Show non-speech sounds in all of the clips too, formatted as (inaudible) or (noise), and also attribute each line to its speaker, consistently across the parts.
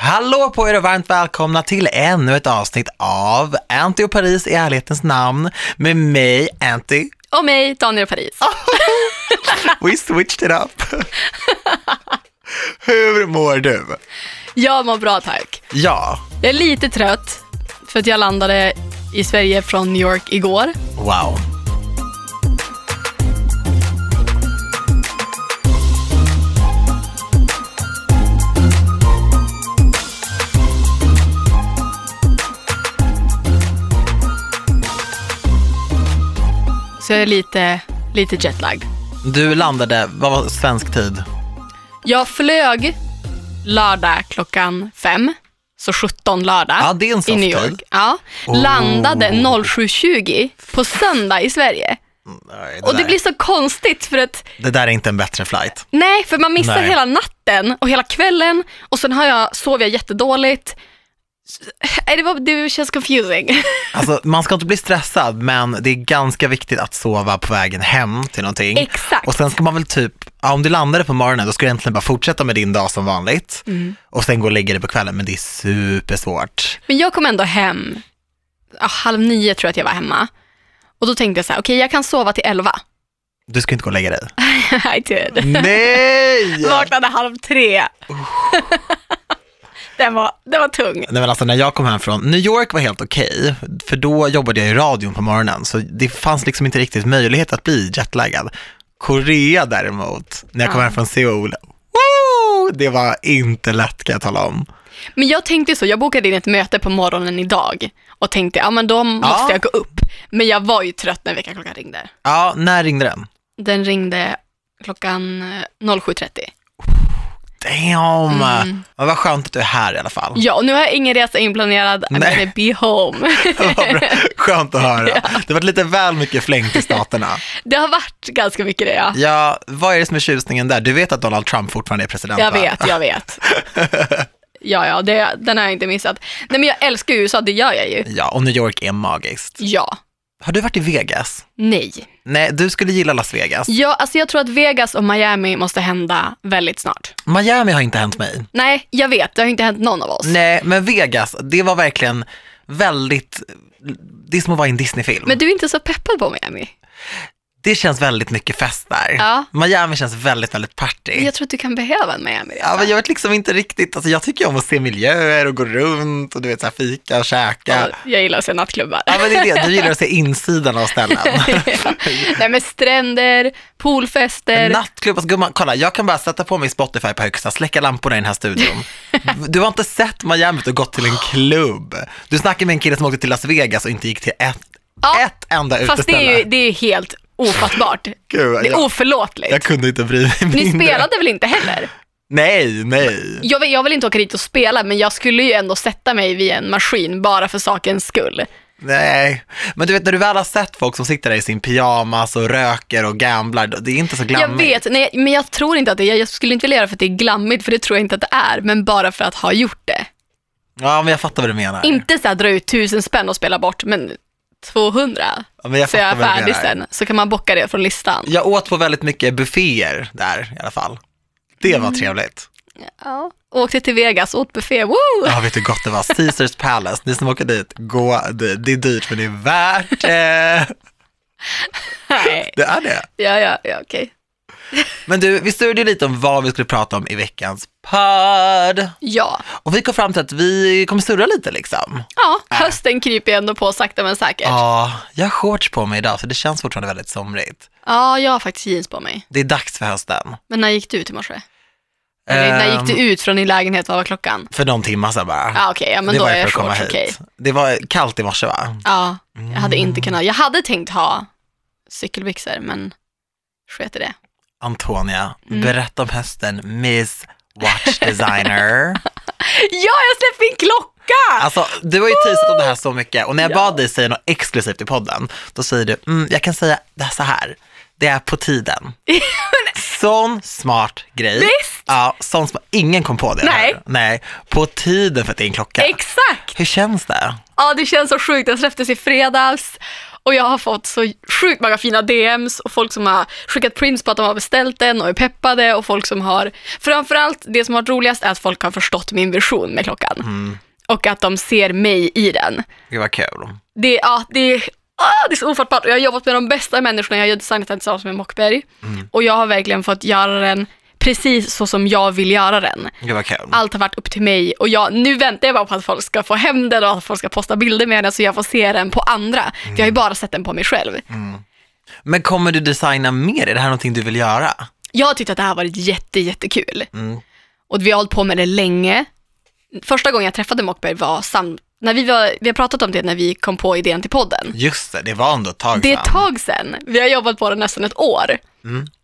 Speaker 1: Hallå på er och varmt välkomna till ännu ett avsnitt av Anty och Paris i ärlighetens namn med mig, Anty.
Speaker 2: Och mig, Daniel Paris.
Speaker 1: Ah. We switched it up. (laughs) Hur mår du?
Speaker 2: Jag mår bra tack.
Speaker 1: Ja,
Speaker 2: Jag är lite trött för att jag landade i Sverige från New York igår.
Speaker 1: wow.
Speaker 2: Så jag är lite, lite jetlagd.
Speaker 1: Du landade, vad var svensk tid?
Speaker 2: Jag flög lördag klockan fem, så 17 lördag
Speaker 1: Ja, det är en Oh.
Speaker 2: i
Speaker 1: soft
Speaker 2: New
Speaker 1: tid.
Speaker 2: York. Ja. Landade 07.20 på söndag i Sverige.
Speaker 1: Nej,
Speaker 2: Och det
Speaker 1: där-
Speaker 2: blir så konstigt för att
Speaker 1: det där är inte en bättre flight.
Speaker 2: Nej, för man missar
Speaker 1: Nej.
Speaker 2: hela natten och hela kvällen och sen har jag, sov jag jättedåligt. S- Nej, det, var, det känns confusing.
Speaker 1: Alltså, man ska inte bli stressad, men det är ganska viktigt att sova på vägen hem till någonting.
Speaker 2: (laughs) Exakt.
Speaker 1: Och sen ska man väl typ, ja, om du landade på morgonen, då ska du egentligen bara fortsätta med din dag som vanligt. Och sen gå och lägga dig på kvällen, men det är supersvårt.
Speaker 2: Men jag kom ändå hem, ja, halv nio tror jag att jag var hemma. Och då tänkte jag så här, okej jag kan sova till elva. (laughs)
Speaker 1: Du ska inte gå och lägga dig.
Speaker 2: I did.
Speaker 1: Nej!
Speaker 2: Vaknade halv tre. den, var, den var tung.
Speaker 1: Nej men alltså när jag kom hem från, New York var helt okej, för då jobbade jag i radion på morgonen, så det fanns liksom inte riktigt möjlighet att bli jetlaggad. Korea däremot, när jag kom
Speaker 2: Ja.
Speaker 1: hem från Seoul, woo, det var inte lätt kan jag tala om.
Speaker 2: Men jag tänkte så, jag bokade in ett möte på morgonen idag och tänkte, ja men då måste
Speaker 1: Ja.
Speaker 2: jag gå upp. Men jag var ju trött när väckarklockan ringde.
Speaker 1: Ja, när ringde den?
Speaker 2: Den ringde klockan eh, 07.30.
Speaker 1: Damn! Men vad skönt att du är här i alla fall.
Speaker 2: Ja, och nu har jag ingen resa inplanerad. I'm
Speaker 1: Nej.
Speaker 2: gonna be home. (laughs)
Speaker 1: Vad bra. Skönt att höra. Det har varit lite väl mycket fläng till staterna.
Speaker 2: det har varit ganska mycket det, ja.
Speaker 1: Ja, vad är det som är tjusningen där? Du vet att Donald Trump fortfarande är president?
Speaker 2: Jag
Speaker 1: va?
Speaker 2: vet, jag (laughs) vet. Ja, ja, det, den har jag inte missat. Nej, men jag älskar ju USA, det gör jag ju.
Speaker 1: Ja, och New York är magiskt.
Speaker 2: Ja,
Speaker 1: Har du varit i Vegas?
Speaker 2: nej.
Speaker 1: Nej, du skulle gilla Las Vegas.
Speaker 2: Ja, alltså jag tror att Vegas och Miami måste hända väldigt snart.
Speaker 1: Miami har inte hänt mig.
Speaker 2: Nej, jag vet, det har inte hänt någon av oss.
Speaker 1: Nej, men Vegas, det var verkligen väldigt, det är som att vara i en Disney-film.
Speaker 2: Men du är inte så peppad på Miami.
Speaker 1: Det känns väldigt mycket fest där.
Speaker 2: Ja.
Speaker 1: Miami känns väldigt, väldigt party.
Speaker 2: Jag tror att du kan behöva en
Speaker 1: Ja,
Speaker 2: Miami-resa.
Speaker 1: men jag vet liksom inte riktigt, alltså jag tycker om att se miljöer och gå runt och du vet så här fika och käka.
Speaker 2: jag gillar att se nattklubbar. (laughs)
Speaker 1: Ja men det är det, du gillar att se insidan av ställen.
Speaker 2: Nej men stränder, poolfester.
Speaker 1: Nattklubb, alltså gumman, kolla jag kan bara sätta på mig Spotify på högsta, släcka lamporna i den här
Speaker 2: (laughs)
Speaker 1: studion. Du har inte sett Miami och gått till en klubb. Du snackar med en kille som åkte till Las Vegas och inte gick till ett,
Speaker 2: Ja,
Speaker 1: ett enda
Speaker 2: fast det
Speaker 1: uteställe.
Speaker 2: är ju det är ju helt ofattbart. Det
Speaker 1: Gud,
Speaker 2: är
Speaker 1: jag, jag
Speaker 2: oförlåtligt.
Speaker 1: kunde inte bry mig
Speaker 2: Ni
Speaker 1: mindre.
Speaker 2: spelade väl inte heller?
Speaker 1: Nej, nej.
Speaker 2: Jag vill, jag vill inte åka dit och spela, men jag skulle ju ändå sätta mig vid en maskin bara för sakens skull.
Speaker 1: Nej, men du vet när du väl har sett folk som sitter där i sin pyjamas och röker och gamblar, det är inte så glammigt.
Speaker 2: Jag vet, nej, men jag tror inte att det jag, jag skulle inte vilja göra för att det är glammigt, för det tror jag inte att det är, men bara för att ha gjort det.
Speaker 1: Ja, men jag fattar vad du menar.
Speaker 2: Inte så här dra ut tusen spänn och spela bort, men 200
Speaker 1: Ja, men jag
Speaker 2: så jag är
Speaker 1: fattar vad du
Speaker 2: färdig
Speaker 1: menar.
Speaker 2: sen, så kan man bocka det från listan.
Speaker 1: Jag åt på väldigt mycket bufféer där i alla fall. Det
Speaker 2: Mm.
Speaker 1: var trevligt.
Speaker 2: Ja. Åkte till Vegas, åt
Speaker 1: (laughs)
Speaker 2: buffé, woo!
Speaker 1: Ja, vet du hur gott det var? Caesars Palace, ni som åker dit, gå dit. Det är dyrt men det är värt det.
Speaker 2: Nej.
Speaker 1: Det är det.
Speaker 2: Ja, ja, ja okej.
Speaker 1: Men du, vi styrde ju lite om vad vi skulle prata om i veckans podd.
Speaker 2: Ja.
Speaker 1: Och vi kom fram till att vi kommer surra lite liksom.
Speaker 2: Ja, hösten kryper ju ändå på sakta men säkert. Ja,
Speaker 1: Ja, jag har shorts på mig idag så det känns fortfarande väldigt somrigt.
Speaker 2: jag har faktiskt jeans på mig.
Speaker 1: Det är dags för hösten.
Speaker 2: Men när gick du ut i morse? Eller när gick
Speaker 1: Ehm,
Speaker 2: du ut från din lägenhet, vad var klockan?
Speaker 1: För någon timma sedan bara.
Speaker 2: Ja, okej, ja, men
Speaker 1: det
Speaker 2: då
Speaker 1: var
Speaker 2: är
Speaker 1: ju för
Speaker 2: jag
Speaker 1: att komma
Speaker 2: shorts
Speaker 1: hit.
Speaker 2: okej.
Speaker 1: Det var kallt i morse va?
Speaker 2: Ja, jag hade
Speaker 1: Mm.
Speaker 2: inte kunnat. Jag hade tänkt ha cykelbyxor, men sket i det.
Speaker 1: Antonia,
Speaker 2: Mm.
Speaker 1: berätta om hösten, Miss
Speaker 2: (laughs)
Speaker 1: Watch Designer.
Speaker 2: Ja, jag släppte in klocka!
Speaker 1: Alltså, du har ju teasat om det här så mycket och när jag bad dig säga något exklusivt i podden, då säger du, mm, jag kan säga det här så här, det är på
Speaker 2: (laughs)
Speaker 1: tiden. Sån smart grej.
Speaker 2: Visst!
Speaker 1: Ja, sån smart. Ingen kom på det.
Speaker 2: Nej.
Speaker 1: hör du? Nej. På tiden för att det är en klocka.
Speaker 2: Exakt!
Speaker 1: Hur känns det?
Speaker 2: Ja, det känns så sjukt. Jag träffades i fredags Och jag har fått så sjukt många fina DMs och folk som har skickat prints på att de har beställt den och är peppade och folk som har, framförallt det som har varit roligast är att folk har förstått min vision med klockan.
Speaker 1: Mm.
Speaker 2: Och att de ser mig i den.
Speaker 1: Gud vad kul.
Speaker 2: Det, ja, det, ah, det är så ofattbart. Och Jag har jobbat med de bästa människorna. Jag har designat den tillsammans med Mockberg. Och jag har verkligen fått göra den precis så som jag vill göra den.
Speaker 1: Gud vad kul.
Speaker 2: Allt har varit upp till mig och jag, nu väntar jag bara på att folk ska få hem den och att folk ska posta bilder med den så jag får se den på andra. För jag har ju bara sett den på mig själv.
Speaker 1: Men kommer du designa mer? Är det här någonting du vill göra?
Speaker 2: Jag tyckte att det här har varit jätte, jättekul.
Speaker 1: Mm.
Speaker 2: Och vi har hållit på med det länge. Första gången jag träffade Mockberg var sam- när vi, var, vi har pratat om det när vi kom på idén till podden.
Speaker 1: Just det, det var ändå ett tag
Speaker 2: Det är
Speaker 1: sedan. Mm.
Speaker 2: ett tag sedan. Vi har jobbat på den nästan ett år.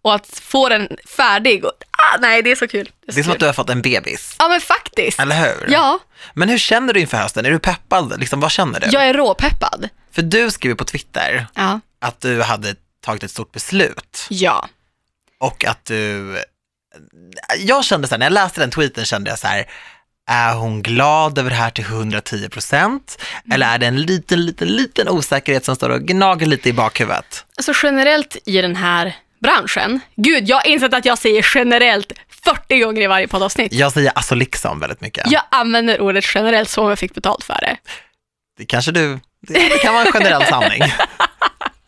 Speaker 2: Och att få den färdig, och, ah, nej det är så kul.
Speaker 1: det är som
Speaker 2: kul.
Speaker 1: att du har fått en bebis,
Speaker 2: Ja men faktiskt.
Speaker 1: eller hur?
Speaker 2: Ja,
Speaker 1: Men hur känner du inför hösten? Är du peppad? Liksom, vad känner du?
Speaker 2: jag är råpeppad.
Speaker 1: För du skrev på Twitter
Speaker 2: Ja.
Speaker 1: att du hade tagit ett stort beslut
Speaker 2: ja.
Speaker 1: och att du... Jag kände så här, när jag läste den tweeten kände jag så här, är hon glad över det här till 110 procent? Eller är det en liten, liten, liten osäkerhet som står och gnager lite i bakhuvudet?
Speaker 2: Alltså generellt i den här branschen, gud jag har insett att jag säger generellt 40 gånger i varje poddavsnitt.
Speaker 1: Jag säger alltså liksom väldigt mycket.
Speaker 2: Jag använder ordet generellt som om jag fick betalt för det.
Speaker 1: Det kanske du, det, det kan vara en generell sanning.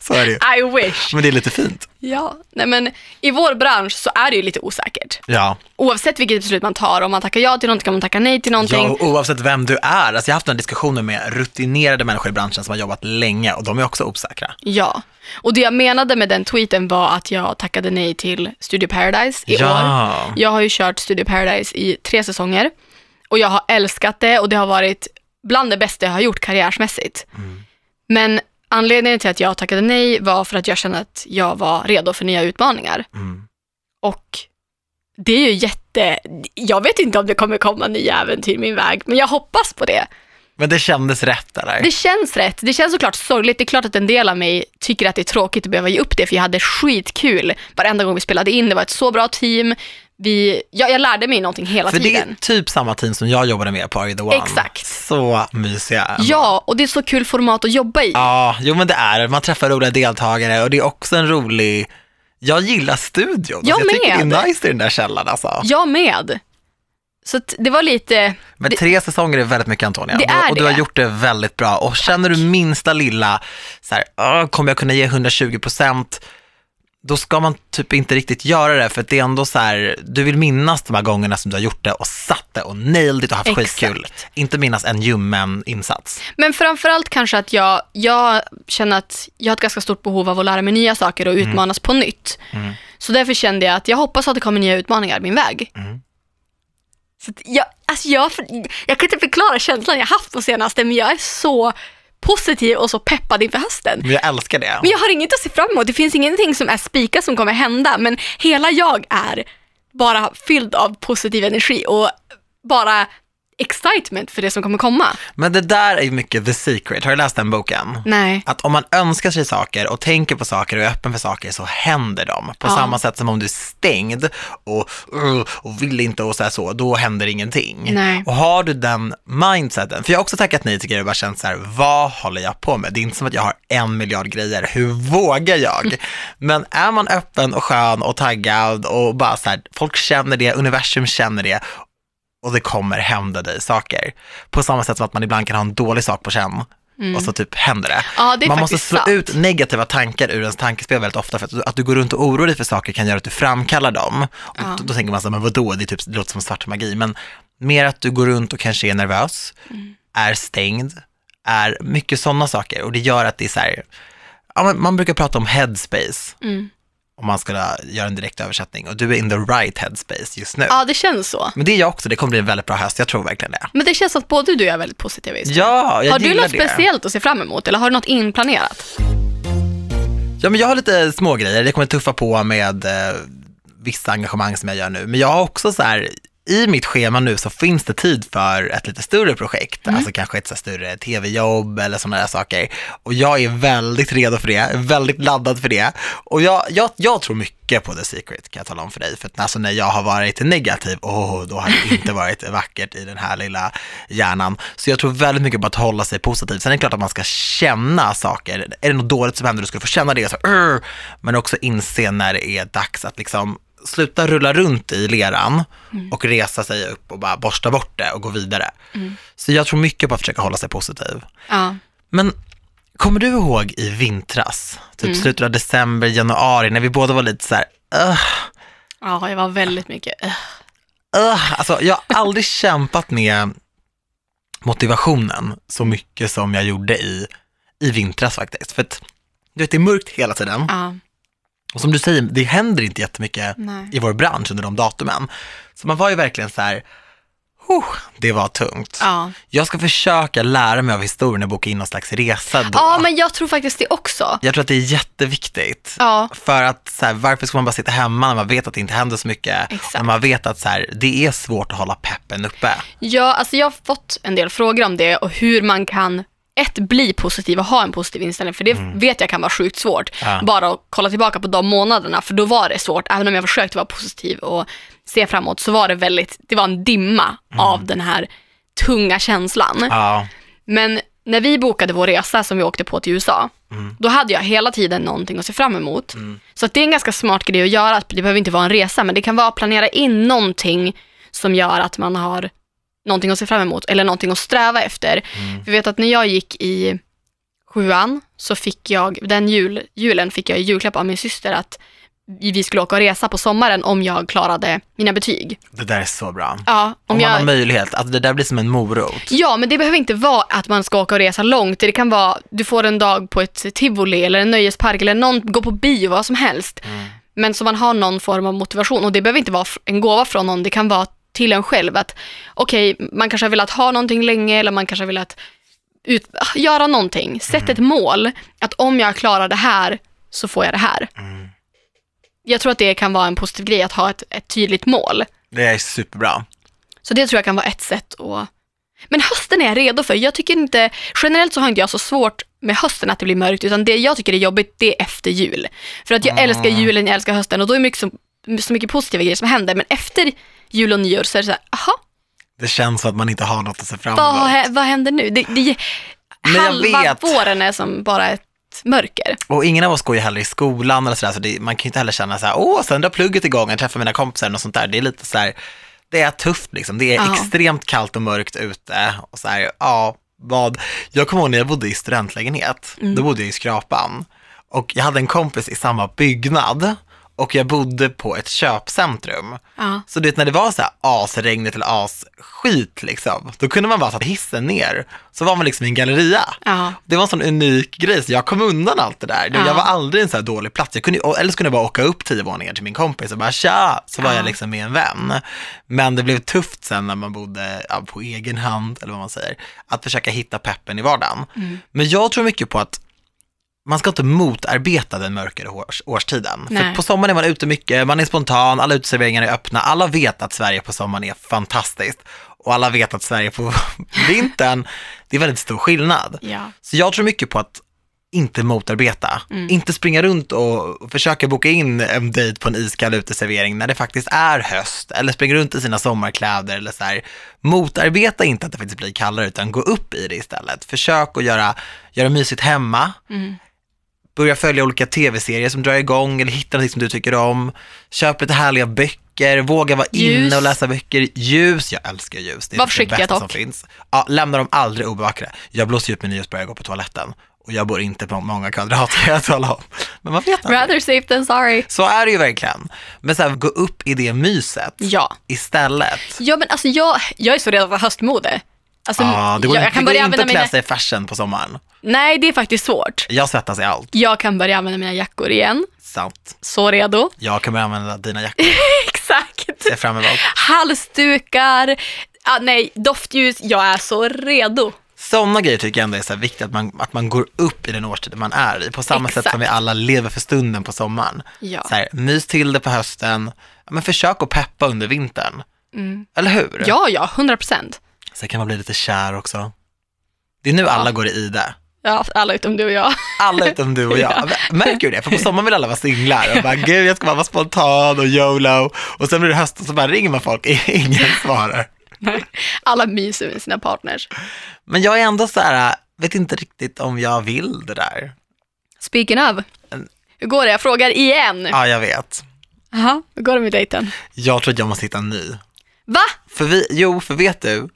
Speaker 1: Så är det ju.
Speaker 2: I wish.
Speaker 1: Men det är lite fint.
Speaker 2: Ja, nej men i vår bransch så är det ju lite osäkert.
Speaker 1: Ja,
Speaker 2: Oavsett vilket beslut man tar, om man tackar ja till någonting, om man tackar nej till någonting.
Speaker 1: ja och oavsett vem du är. Alltså jag har haft den diskussionen med rutinerade människor i branschen som har jobbat länge och de är också osäkra.
Speaker 2: Ja, och det jag menade med den tweeten var att jag tackade nej till Studio Paradise i år.
Speaker 1: ja.
Speaker 2: Jag har ju kört Studio Paradise i tre säsonger och jag har älskat det och det har varit bland det bästa jag har gjort karriärsmässigt. Men anledningen till att jag tackade nej var för att jag kände att jag var redo för nya utmaningar.
Speaker 1: Mm.
Speaker 2: Och det är ju jätte... Jag vet inte om det kommer komma nya äventyr min väg, men jag hoppas på det.
Speaker 1: Men det kändes rätt eller?
Speaker 2: Det känns rätt. Det känns såklart sorgligt. Det är klart att en del av mig tycker att det är tråkigt att behöva ge upp det, för jag hade skitkul varenda gång vi spelade in. Det var ett så bra team. Vi, jag, jag lärde mig någonting hela
Speaker 1: För det
Speaker 2: tiden.
Speaker 1: är typ samma team som jag jobbade med på Are You The One.
Speaker 2: Exakt.
Speaker 1: Så mysiga.
Speaker 2: Ja, och det är så kul format att jobba i.
Speaker 1: Ja, jo men det är det. Man träffar roliga deltagare och det är också en rolig, jag gillar studion.
Speaker 2: Jag
Speaker 1: alltså, jag tycker det
Speaker 2: med.
Speaker 1: är nice i den där källaren alltså.
Speaker 2: Jag med. Så att det var lite,
Speaker 1: Men tre säsonger är väldigt mycket Antonia.
Speaker 2: Det
Speaker 1: Du-
Speaker 2: är
Speaker 1: och du har
Speaker 2: det.
Speaker 1: gjort det väldigt bra. Och känner du minsta lilla, så här, "Åh, kommer jag kunna ge 120 procent? Då ska man typ inte riktigt göra det, för att det är ändå så här, du vill minnas de här gångerna som du har gjort det och satt det och nailed it och haft
Speaker 2: Exakt.
Speaker 1: skitkul. Inte minnas en ljummen insats.
Speaker 2: men framförallt kanske att jag, jag känner att jag har ett ganska stort behov av att lära mig nya saker och utmanas på nytt. Så därför kände jag att jag hoppas att det kommer nya utmaningar min väg. Så att jag, alltså jag, jag kan inte förklara känslan jag haft de senaste, men jag är så positiv och så peppad inför hösten.
Speaker 1: Men jag älskar det.
Speaker 2: Men jag har inget att se fram emot. Det finns ingenting som är spikat som kommer hända. Men hela jag är bara fylld av positiv energi och bara excitement för det som kommer komma.
Speaker 1: Men det där är ju mycket the secret. Har du läst den boken?
Speaker 2: Nej.
Speaker 1: Att om man önskar sig saker och tänker på saker och är öppen för saker så händer de. På
Speaker 2: Ja.
Speaker 1: samma sätt som om du är stängd och, "Ugh", och vill inte och så, här så, då händer ingenting.
Speaker 2: Nej.
Speaker 1: Och har du den mindseten, för jag har också tackat nej till grejer och bara känt så här, vad håller jag på med? Det är inte som att jag har en miljard grejer, hur vågar
Speaker 2: (laughs)
Speaker 1: jag? Men är man öppen och skön och taggad och bara så här, folk känner det, universum känner det och det kommer hända dig saker. På samma sätt som att man ibland kan ha en dålig sak på känn och så typ händer det.
Speaker 2: Mm. Ja, det är
Speaker 1: man måste
Speaker 2: faktiskt
Speaker 1: slå
Speaker 2: sant.
Speaker 1: ut negativa tankar ur ens tankespel väldigt ofta för att, du- att du går runt och oroar dig för saker kan göra att du framkallar dem. Och
Speaker 2: Ja.
Speaker 1: då, då tänker man så här, men vadå, det, är typ, det låter som svart magi. Men mer att du går runt och kanske är nervös,
Speaker 2: Mm.
Speaker 1: är stängd, är mycket sådana saker. Och det gör att det är så här, ja, men man brukar prata om headspace.
Speaker 2: Mm.
Speaker 1: Om man ska göra en direkt översättning och du är in the right headspace just nu.
Speaker 2: Ja, det känns så.
Speaker 1: Men det är jag också, det kommer bli en väldigt bra höst, jag tror verkligen det.
Speaker 2: Men det känns att både du och jag är väldigt positiva just nu.
Speaker 1: Ja, jag
Speaker 2: Har du
Speaker 1: gillar
Speaker 2: något
Speaker 1: det.
Speaker 2: speciellt att se fram emot eller har du något inplanerat?
Speaker 1: Ja, men jag har lite små grejer. Jag kommer tuffa på med eh, vissa engagemang som jag gör nu. Men jag har också så här, i mitt schema nu så finns det tid för ett lite större projekt,
Speaker 2: Mm.
Speaker 1: alltså kanske ett så här större tv-jobb eller sådana där saker. Och jag är väldigt redo för det, väldigt laddad för det. Och jag, jag, jag tror mycket på The Secret kan jag tala om för dig, för att alltså när jag har varit negativ, åh, då har det inte varit vackert i den här lilla hjärnan. Så jag tror väldigt mycket på att hålla sig positiv. Sen är det klart att man ska känna saker. Är det något dåligt som händer, du ska få känna det. Så, "Urr", men också inse när det är dags att liksom sluta rulla runt i leran och resa sig upp och bara borsta bort det och gå vidare. Så jag tror mycket på att försöka hålla sig positiv.
Speaker 2: Ja.
Speaker 1: Men kommer du ihåg i vintras, typ slutet av december, januari, när vi båda var lite så här, "Ugh,
Speaker 2: ja, jag var väldigt mycket... eh.
Speaker 1: Ugh, alltså, jag har aldrig kämpat med motivationen så mycket som jag gjorde i, i vintras faktiskt. För att du vet, det är mörkt hela tiden.
Speaker 2: Ja,
Speaker 1: Och som du säger, det händer inte jättemycket
Speaker 2: nej.
Speaker 1: i vår bransch under de datumen. Så man var ju verkligen så här, "Huh, det var tungt.
Speaker 2: Ja.
Speaker 1: Jag ska försöka lära mig av historien och boka in någon slags resa då.
Speaker 2: ja, men jag tror faktiskt det också.
Speaker 1: Jag tror att det är jätteviktigt.
Speaker 2: Ja,
Speaker 1: För att så här, varför ska man bara sitta hemma när man vet att det inte händer så mycket?
Speaker 2: Exakt.
Speaker 1: När man vet att så här, det är svårt att hålla peppen uppe.
Speaker 2: Ja, alltså jag har fått en del frågor om det och hur man kan ett, bli positiv och ha en positiv inställning, för det vet jag kan vara sjukt svårt.
Speaker 1: Mm. Ja.
Speaker 2: Bara att kolla tillbaka på de månaderna, för då var det svårt. Även om jag försökte vara positiv och se framåt, så var det väldigt, det var en dimma
Speaker 1: Mm.
Speaker 2: av den här tunga känslan.
Speaker 1: Ja,
Speaker 2: Men när vi bokade vår resa som vi åkte på till USA, då hade jag hela tiden någonting att se fram emot. Så att det är en ganska smart grej att göra, att det behöver inte vara en resa, men det kan vara att planera in någonting som gör att man har någonting att se fram emot eller någonting att sträva efter. Vi vet att när jag gick i sjuan så fick jag, den jul, julen fick jag i julklapp av min syster att vi skulle åka och resa på sommaren om jag klarade mina betyg.
Speaker 1: det där är så bra.
Speaker 2: Ja, om,
Speaker 1: Om, man
Speaker 2: jag,
Speaker 1: har möjlighet, alltså det där blir som en morot.
Speaker 2: Ja, men det behöver inte vara att man ska åka och resa långt. Det kan vara du får en dag på ett tivoli eller en nöjespark eller någon gå på bio, vad som helst. Men så man har någon form av motivation och det behöver inte vara fr- en gåva från någon, det kan vara till en själv. att Okej, man kanske har velat ha någonting länge eller man kanske har velat ut, ah, göra någonting. Sätt ett mål, att om jag klarar det här så får jag det här. Jag tror att det kan vara en positiv grej att ha ett, ett tydligt mål.
Speaker 1: Det är superbra.
Speaker 2: Så det tror jag kan vara ett sätt att... Men hösten är jag redo för. Jag tycker inte, generellt så har inte jag så svårt med hösten att det blir mörkt, utan det jag tycker är jobbigt det är efter jul. För
Speaker 1: Ah.
Speaker 2: att jag älskar julen, jag älskar hösten och då är det mycket så, så mycket positiva grejer som händer. Men efter jul och nyår så är det så här, aha,
Speaker 1: Det känns som att man inte har något att se fram
Speaker 2: vad, har
Speaker 1: emot.
Speaker 2: hä- vad händer nu? Det, det,
Speaker 1: Men jag
Speaker 2: halva
Speaker 1: vet.
Speaker 2: våren är som bara ett mörker.
Speaker 1: Och ingen av oss går ju heller i skolan eller sådär, så det, man kan ju inte heller känna så här, åh, sen drar plugget igång, jag träffar mina kompisar och sånt där. Det är lite så här, det är tufft liksom. Det är
Speaker 2: Ja.
Speaker 1: extremt kallt och mörkt ute och så här, ja, vad. Jag kommer ihåg när jag bodde i studentlägenhet,
Speaker 2: Mm.
Speaker 1: då bodde jag i Skrapan. Och jag hade en kompis i samma byggnad och jag bodde på ett köpcentrum.
Speaker 2: Ja.
Speaker 1: Så du vet när det var så här asregnigt eller asskit liksom, då kunde man bara ta hissen ner, så var man liksom i en galleria.
Speaker 2: Ja.
Speaker 1: Det var en sån unik grej, så jag kom undan allt det där.
Speaker 2: Ja.
Speaker 1: Jag var aldrig en så här dålig plats. Jag kunde, eller så kunde jag bara åka upp tio våningar till min kompis och bara tja, så var
Speaker 2: Ja.
Speaker 1: jag liksom med en vän. Men det blev tufft sen när man bodde ja, på egen hand, eller vad man säger, att försöka hitta peppen i vardagen.
Speaker 2: Mm.
Speaker 1: Men jag tror mycket på att man ska inte motarbeta den mörkare års, årstiden.
Speaker 2: Nej.
Speaker 1: För på sommaren är man ute mycket, man är spontan, alla uteserveringar är öppna, alla vet att Sverige på sommaren är fantastiskt. Och alla vet att Sverige på (laughs) vintern, det är väldigt stor skillnad.
Speaker 2: Ja.
Speaker 1: Så jag tror mycket på att inte motarbeta,
Speaker 2: Mm.
Speaker 1: inte springa runt och och försöka boka in en dejt på en iskall uteservering när det faktiskt är höst, eller springa runt i sina sommarkläder eller så här. Motarbeta inte att det faktiskt blir kallare, utan gå upp i det istället. Försök att göra, göra mysigt hemma,
Speaker 2: Mm.
Speaker 1: börja följa olika tv-serier som drar igång eller hitta något som du tycker om. Köp lite härliga böcker, våga vara
Speaker 2: Ljus.
Speaker 1: inne och läsa böcker. Ljus, jag älskar ljus. Det är
Speaker 2: Var
Speaker 1: typ det
Speaker 2: försiktiga
Speaker 1: bästa
Speaker 2: dock.
Speaker 1: som finns. Ja, lämna dem aldrig obevakade. Jag blåser upp min nyhetsbrev och går på toaletten. Och jag bor inte på många kvadrat kan jag tala om. Men man vet aldrig.
Speaker 2: Rather safe than sorry.
Speaker 1: Så är det ju verkligen. Men så här, gå upp i det myset
Speaker 2: Ja.
Speaker 1: istället.
Speaker 2: Ja, men alltså jag, jag är så redan för höstmode. Alltså,
Speaker 1: Ja, Ah, det går,
Speaker 2: jag,
Speaker 1: inte-
Speaker 2: jag kan
Speaker 1: det
Speaker 2: börja
Speaker 1: går inte
Speaker 2: använda
Speaker 1: att klä
Speaker 2: mina...
Speaker 1: sig i fashion på sommaren.
Speaker 2: Nej, det är faktiskt svårt.
Speaker 1: Jag svettas i allt.
Speaker 2: jag kan börja använda mina jackor igen.
Speaker 1: Sant. (laughs)
Speaker 2: Så redo.
Speaker 1: Jag kommer använda dina jackor.
Speaker 2: Exakt.
Speaker 1: Ser fram emot.
Speaker 2: Halsdukar, ah, nej, doftljus. Jag är så redo.
Speaker 1: Sådana grejer tycker jag ändå är så här viktigt, att man, att man går upp i den årstiden man är i. På samma
Speaker 2: Exakt.
Speaker 1: sätt som vi alla lever för stunden på sommaren.
Speaker 2: Ja.
Speaker 1: Så här, mys till det på hösten, Ja, men försök att peppa under vintern.
Speaker 2: Mm.
Speaker 1: Eller hur?
Speaker 2: Ja, ja, 100 procent.
Speaker 1: Sen kan man bli lite kär också. Det är nu alla går i det.
Speaker 2: Ja, alla utom du och jag. (laughs)
Speaker 1: Alla utom du och jag.
Speaker 2: Ja.
Speaker 1: Märker du det? För på sommaren vill alla vara singlar och bara, gud jag ska bara vara spontan och YOLO. Och sen blir det höst och så bara ringer man folk, (laughs) ingen svarar.
Speaker 2: Alla myser med sina partners.
Speaker 1: Men jag är ändå så här, vet inte riktigt om jag vill det där.
Speaker 2: Speaking of, hur går det? Jag frågar igen.
Speaker 1: Ja, jag vet.
Speaker 2: Aha. Hur går det med dejten?
Speaker 1: Jag tror att jag måste hitta en ny.
Speaker 2: Va?
Speaker 1: För vi, jo, för vet du,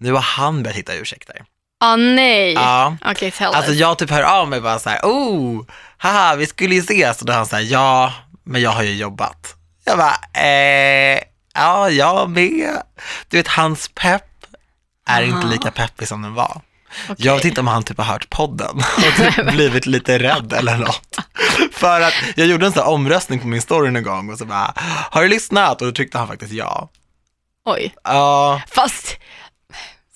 Speaker 1: nu har han börjat hitta ursäkter.
Speaker 2: Ah nej.
Speaker 1: Ja.
Speaker 2: Okej, tell
Speaker 1: Alltså
Speaker 2: us.
Speaker 1: jag typ hör av mig bara så här, oh, haha, vi skulle ju ses. Och då är han så här, ja, men jag har ju jobbat. Jag bara, eh, ja, jag med. Du vet, hans pepp är inte lika peppig som den var. Jag vet
Speaker 2: Okej.
Speaker 1: inte om han typ har hört podden och typ blivit lite rädd eller något. För att jag gjorde en sån här omröstning på min story någon gång och så bara, har du lyssnat? Och då tryckte han faktiskt ja.
Speaker 2: Oj.
Speaker 1: Ja,
Speaker 2: Fast,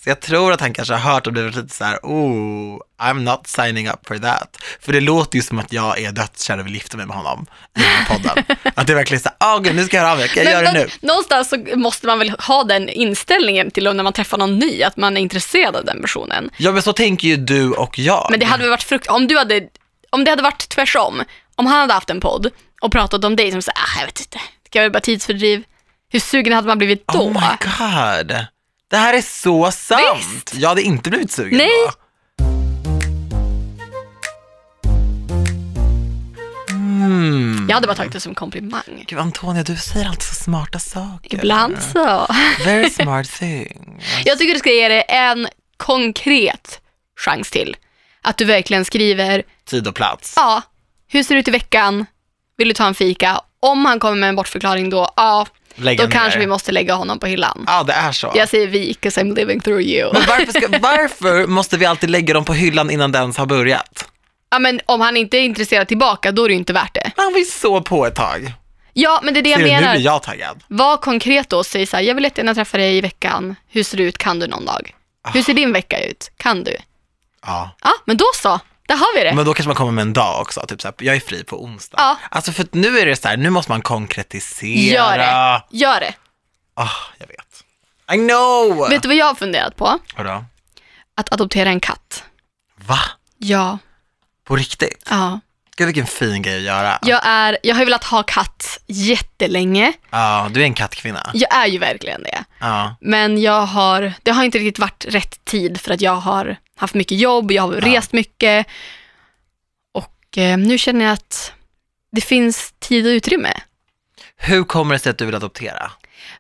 Speaker 1: så jag tror att han kanske har hört och blivit lite så här, oh, I'm not signing up for that. För det låter ju som att jag är dödskär och vill gifta mig med honom i den här
Speaker 2: (laughs)
Speaker 1: podden. att det är verkligen så här, ah gud, nu ska jag höra av mig, kan jag
Speaker 2: men
Speaker 1: göra det
Speaker 2: nå-
Speaker 1: nu?
Speaker 2: någonstans så måste man väl ha den inställningen till när man träffar någon ny, att man är intresserad av den personen.
Speaker 1: Ja, men så tänker ju du och jag.
Speaker 2: Men det hade väl varit frukt... Om, du hade... om det hade varit tvärsom, om han hade haft en podd och pratat om dig som såhär, ah, jag vet inte, det kan väl bara tidsfördriv. Hur sugen hade man blivit då?
Speaker 1: Oh my god. Det här är så sant. Jag hade inte blivit sugen
Speaker 2: Nej.
Speaker 1: då.
Speaker 2: jag hade bara tagit det som komplimang.
Speaker 1: Gud Antonia, du säger alltid så smarta saker.
Speaker 2: Ibland så.
Speaker 1: Very smart thing.
Speaker 2: Jag tycker du ska ge det en konkret chans till. Att du verkligen skriver,
Speaker 1: Tid och plats.
Speaker 2: ja, hur ser det ut i veckan? Vill du ta en fika? Om han kommer med en bortförklaring då, ja,
Speaker 1: Lägga
Speaker 2: då
Speaker 1: ner.
Speaker 2: kanske vi måste lägga honom på hyllan.
Speaker 1: Ja, det är så.
Speaker 2: Jag säger vi, 'cause I'm living through you.
Speaker 1: Men varför, ska, varför måste vi alltid lägga dem på hyllan innan den ens har börjat?
Speaker 2: Ja, men om han inte är intresserad tillbaka, då är det ju inte värt det.
Speaker 1: Han var ju så på ett tag.
Speaker 2: Ja, men det är det jag
Speaker 1: Ser du, nu
Speaker 2: menar.
Speaker 1: blir jag taggad.
Speaker 2: Var konkret då och säg så här, jag vill jättegärna träffa dig i veckan. Hur ser det ut? Kan du någon dag?
Speaker 1: Ah.
Speaker 2: Hur ser din vecka ut? Kan du?
Speaker 1: Ja.
Speaker 2: Ja, men då så. Där har vi det.
Speaker 1: Men då kanske man kommer med en dag också, typ så här, jag är fri på onsdag.
Speaker 2: Ja.
Speaker 1: Alltså för att nu är det så här, nu måste man konkretisera.
Speaker 2: Gör det. Gör det.
Speaker 1: Ah, jag vet. I know!
Speaker 2: Vet du vad jag har funderat på?
Speaker 1: Vadå?
Speaker 2: Att adoptera en katt.
Speaker 1: Va?
Speaker 2: Ja.
Speaker 1: På riktigt?
Speaker 2: ja.
Speaker 1: Gud vilken fin grej att göra. Ja,
Speaker 2: Jag, är, jag har ju velat ha katt jättelänge.
Speaker 1: du är en kattkvinna.
Speaker 2: Jag är ju verkligen det.
Speaker 1: Ja.
Speaker 2: Men jag har, det har inte riktigt varit rätt tid för att jag har haft mycket jobb, jag har rest mycket och eh, nu känner jag att det finns tid och utrymme.
Speaker 1: Hur kommer det sig att du vill adoptera?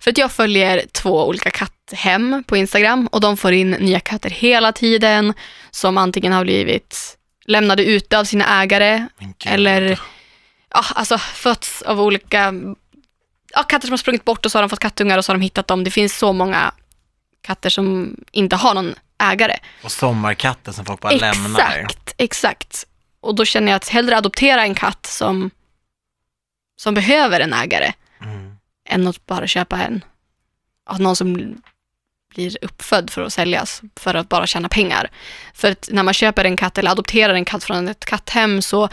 Speaker 2: För att jag följer två olika katthem på Instagram och de får in nya katter hela tiden som antingen har blivit lämnade ute av sina ägare
Speaker 1: Men gud.
Speaker 2: eller ja, alltså, fötts av olika ja, katter som har sprungit bort och så har de fått kattungar och så har de hittat dem. Det finns så många katter som inte har någon ägare.
Speaker 1: Och sommarkatten som folk bara lämnar.
Speaker 2: Exakt, exakt. Och då känner jag att hellre adoptera en katt som, som behöver en ägare
Speaker 1: Mm.
Speaker 2: än att bara köpa en, ja, någon som blir uppfödd för att säljas för att bara tjäna pengar. För att när man köper en katt eller adopterar en katt från ett katthem så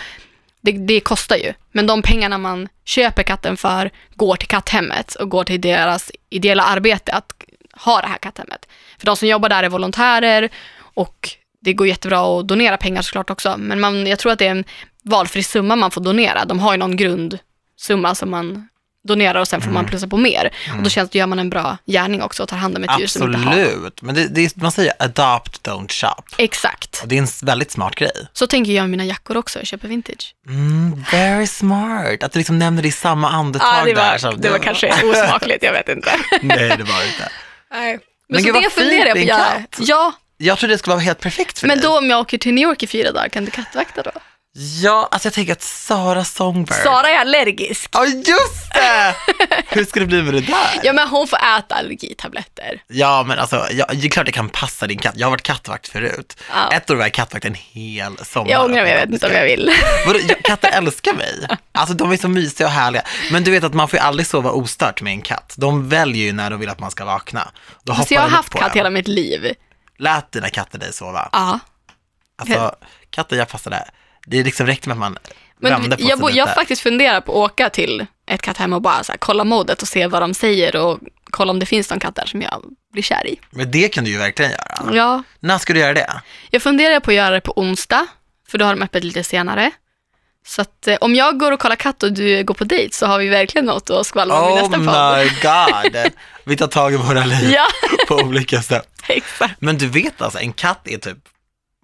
Speaker 2: det, det kostar ju. Men de pengarna man köper katten för går till katthemmet och går till deras ideella arbete att ha det här katthemmet. För de som jobbar där är volontärer och det går jättebra att donera pengar såklart också. Men man, jag tror att det är en valfri summa man får donera. De har ju någon grundsumma som man donerar och sen får man plussa på mer. Och då känns det, gör man en bra gärning också och tar hand om ett djur som inte har. något.
Speaker 1: Absolut, men det, det, är- man säger adopt, don't shop.
Speaker 2: Exakt.
Speaker 1: Och det är en s- väldigt smart grej.
Speaker 2: Så tänker jag med mina jackor också, jag köper vintage.
Speaker 1: Mm, very smart, att du liksom nämner det i samma andetag där. som-
Speaker 2: osmakligt, jag vet inte.
Speaker 1: (laughs) Nej, det var det inte.
Speaker 2: (laughs) Nej. Men,
Speaker 1: Men
Speaker 2: så
Speaker 1: gud, vad
Speaker 2: det
Speaker 1: fint
Speaker 2: funderar jag på
Speaker 1: din
Speaker 2: att göra.
Speaker 1: katt.
Speaker 2: Ja,
Speaker 1: Jag trodde det skulle vara helt perfekt för
Speaker 2: men
Speaker 1: dig.
Speaker 2: då om jag åker till New York i fyra dagar, kan du kattvakta då?
Speaker 1: Ja, alltså jag tänker att Sara Songbird.
Speaker 2: Sara är allergisk.
Speaker 1: Ja, just det! Hur ska det bli med det där?
Speaker 2: Ja, men hon får äta allergitabletter.
Speaker 1: Ja, men alltså, ja, det är klart det kan passa din katt. Jag har varit kattvakt förut.
Speaker 2: Ja.
Speaker 1: Ett år var jag kattvakt en hel sommar.
Speaker 2: Jag ångrar mig, jag vet inte om jag vill.
Speaker 1: Vadå, jag- katter älskar mig. Alltså de är så mysiga och härliga. Men du vet att man får ju aldrig sova ostört med en katt. De väljer ju när de vill att man ska vakna. Då hoppar
Speaker 2: Så Alltså, jag har
Speaker 1: de upp
Speaker 2: haft
Speaker 1: på
Speaker 2: katt
Speaker 1: en.
Speaker 2: hela mitt liv.
Speaker 1: Lät dina katter dig sova?
Speaker 2: Ja.
Speaker 1: Alltså, katten jag passade, det liksom räckte med att man
Speaker 2: Men
Speaker 1: vände
Speaker 2: du,
Speaker 1: på sig
Speaker 2: jag, bo-
Speaker 1: lite.
Speaker 2: jag faktiskt funderar på att åka till ett katthem och bara så här, kolla modet och se vad de säger och kolla om det finns någon katt där som jag blir kär i.
Speaker 1: Men det kan du ju verkligen göra.
Speaker 2: Ja,
Speaker 1: När ska du göra det?
Speaker 2: jag funderar på att göra det på onsdag, för då har de öppet lite senare. Så att, eh, om jag går och kollar katt och du går på dejt så har vi verkligen något att skvallra om i
Speaker 1: Oh
Speaker 2: nästa podd.
Speaker 1: my god. Vi tar tag i våra liv
Speaker 2: Ja,
Speaker 1: på olika sätt.
Speaker 2: (laughs) exakt.
Speaker 1: Men du vet alltså, en katt är typ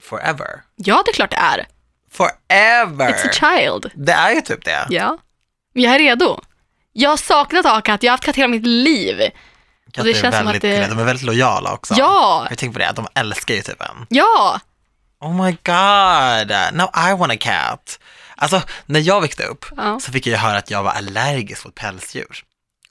Speaker 1: forever.
Speaker 2: Ja, det är klart det är. It's a
Speaker 1: Forever!
Speaker 2: child.
Speaker 1: Det är ju typ det.
Speaker 2: Ja. Men jag är redo. Jag har saknat att ha katt, jag har haft katt hela mitt liv.
Speaker 1: Katter
Speaker 2: det känns
Speaker 1: är
Speaker 2: som
Speaker 1: väldigt,
Speaker 2: att det-
Speaker 1: De är väldigt lojala också.
Speaker 2: Ja,
Speaker 1: Jag tänker på det, att de älskar ju typ en.
Speaker 2: ja,
Speaker 1: Oh my god, now I want a cat. Alltså, när jag växte upp
Speaker 2: Ja.
Speaker 1: så fick jag ju höra att jag var allergisk mot pälsdjur.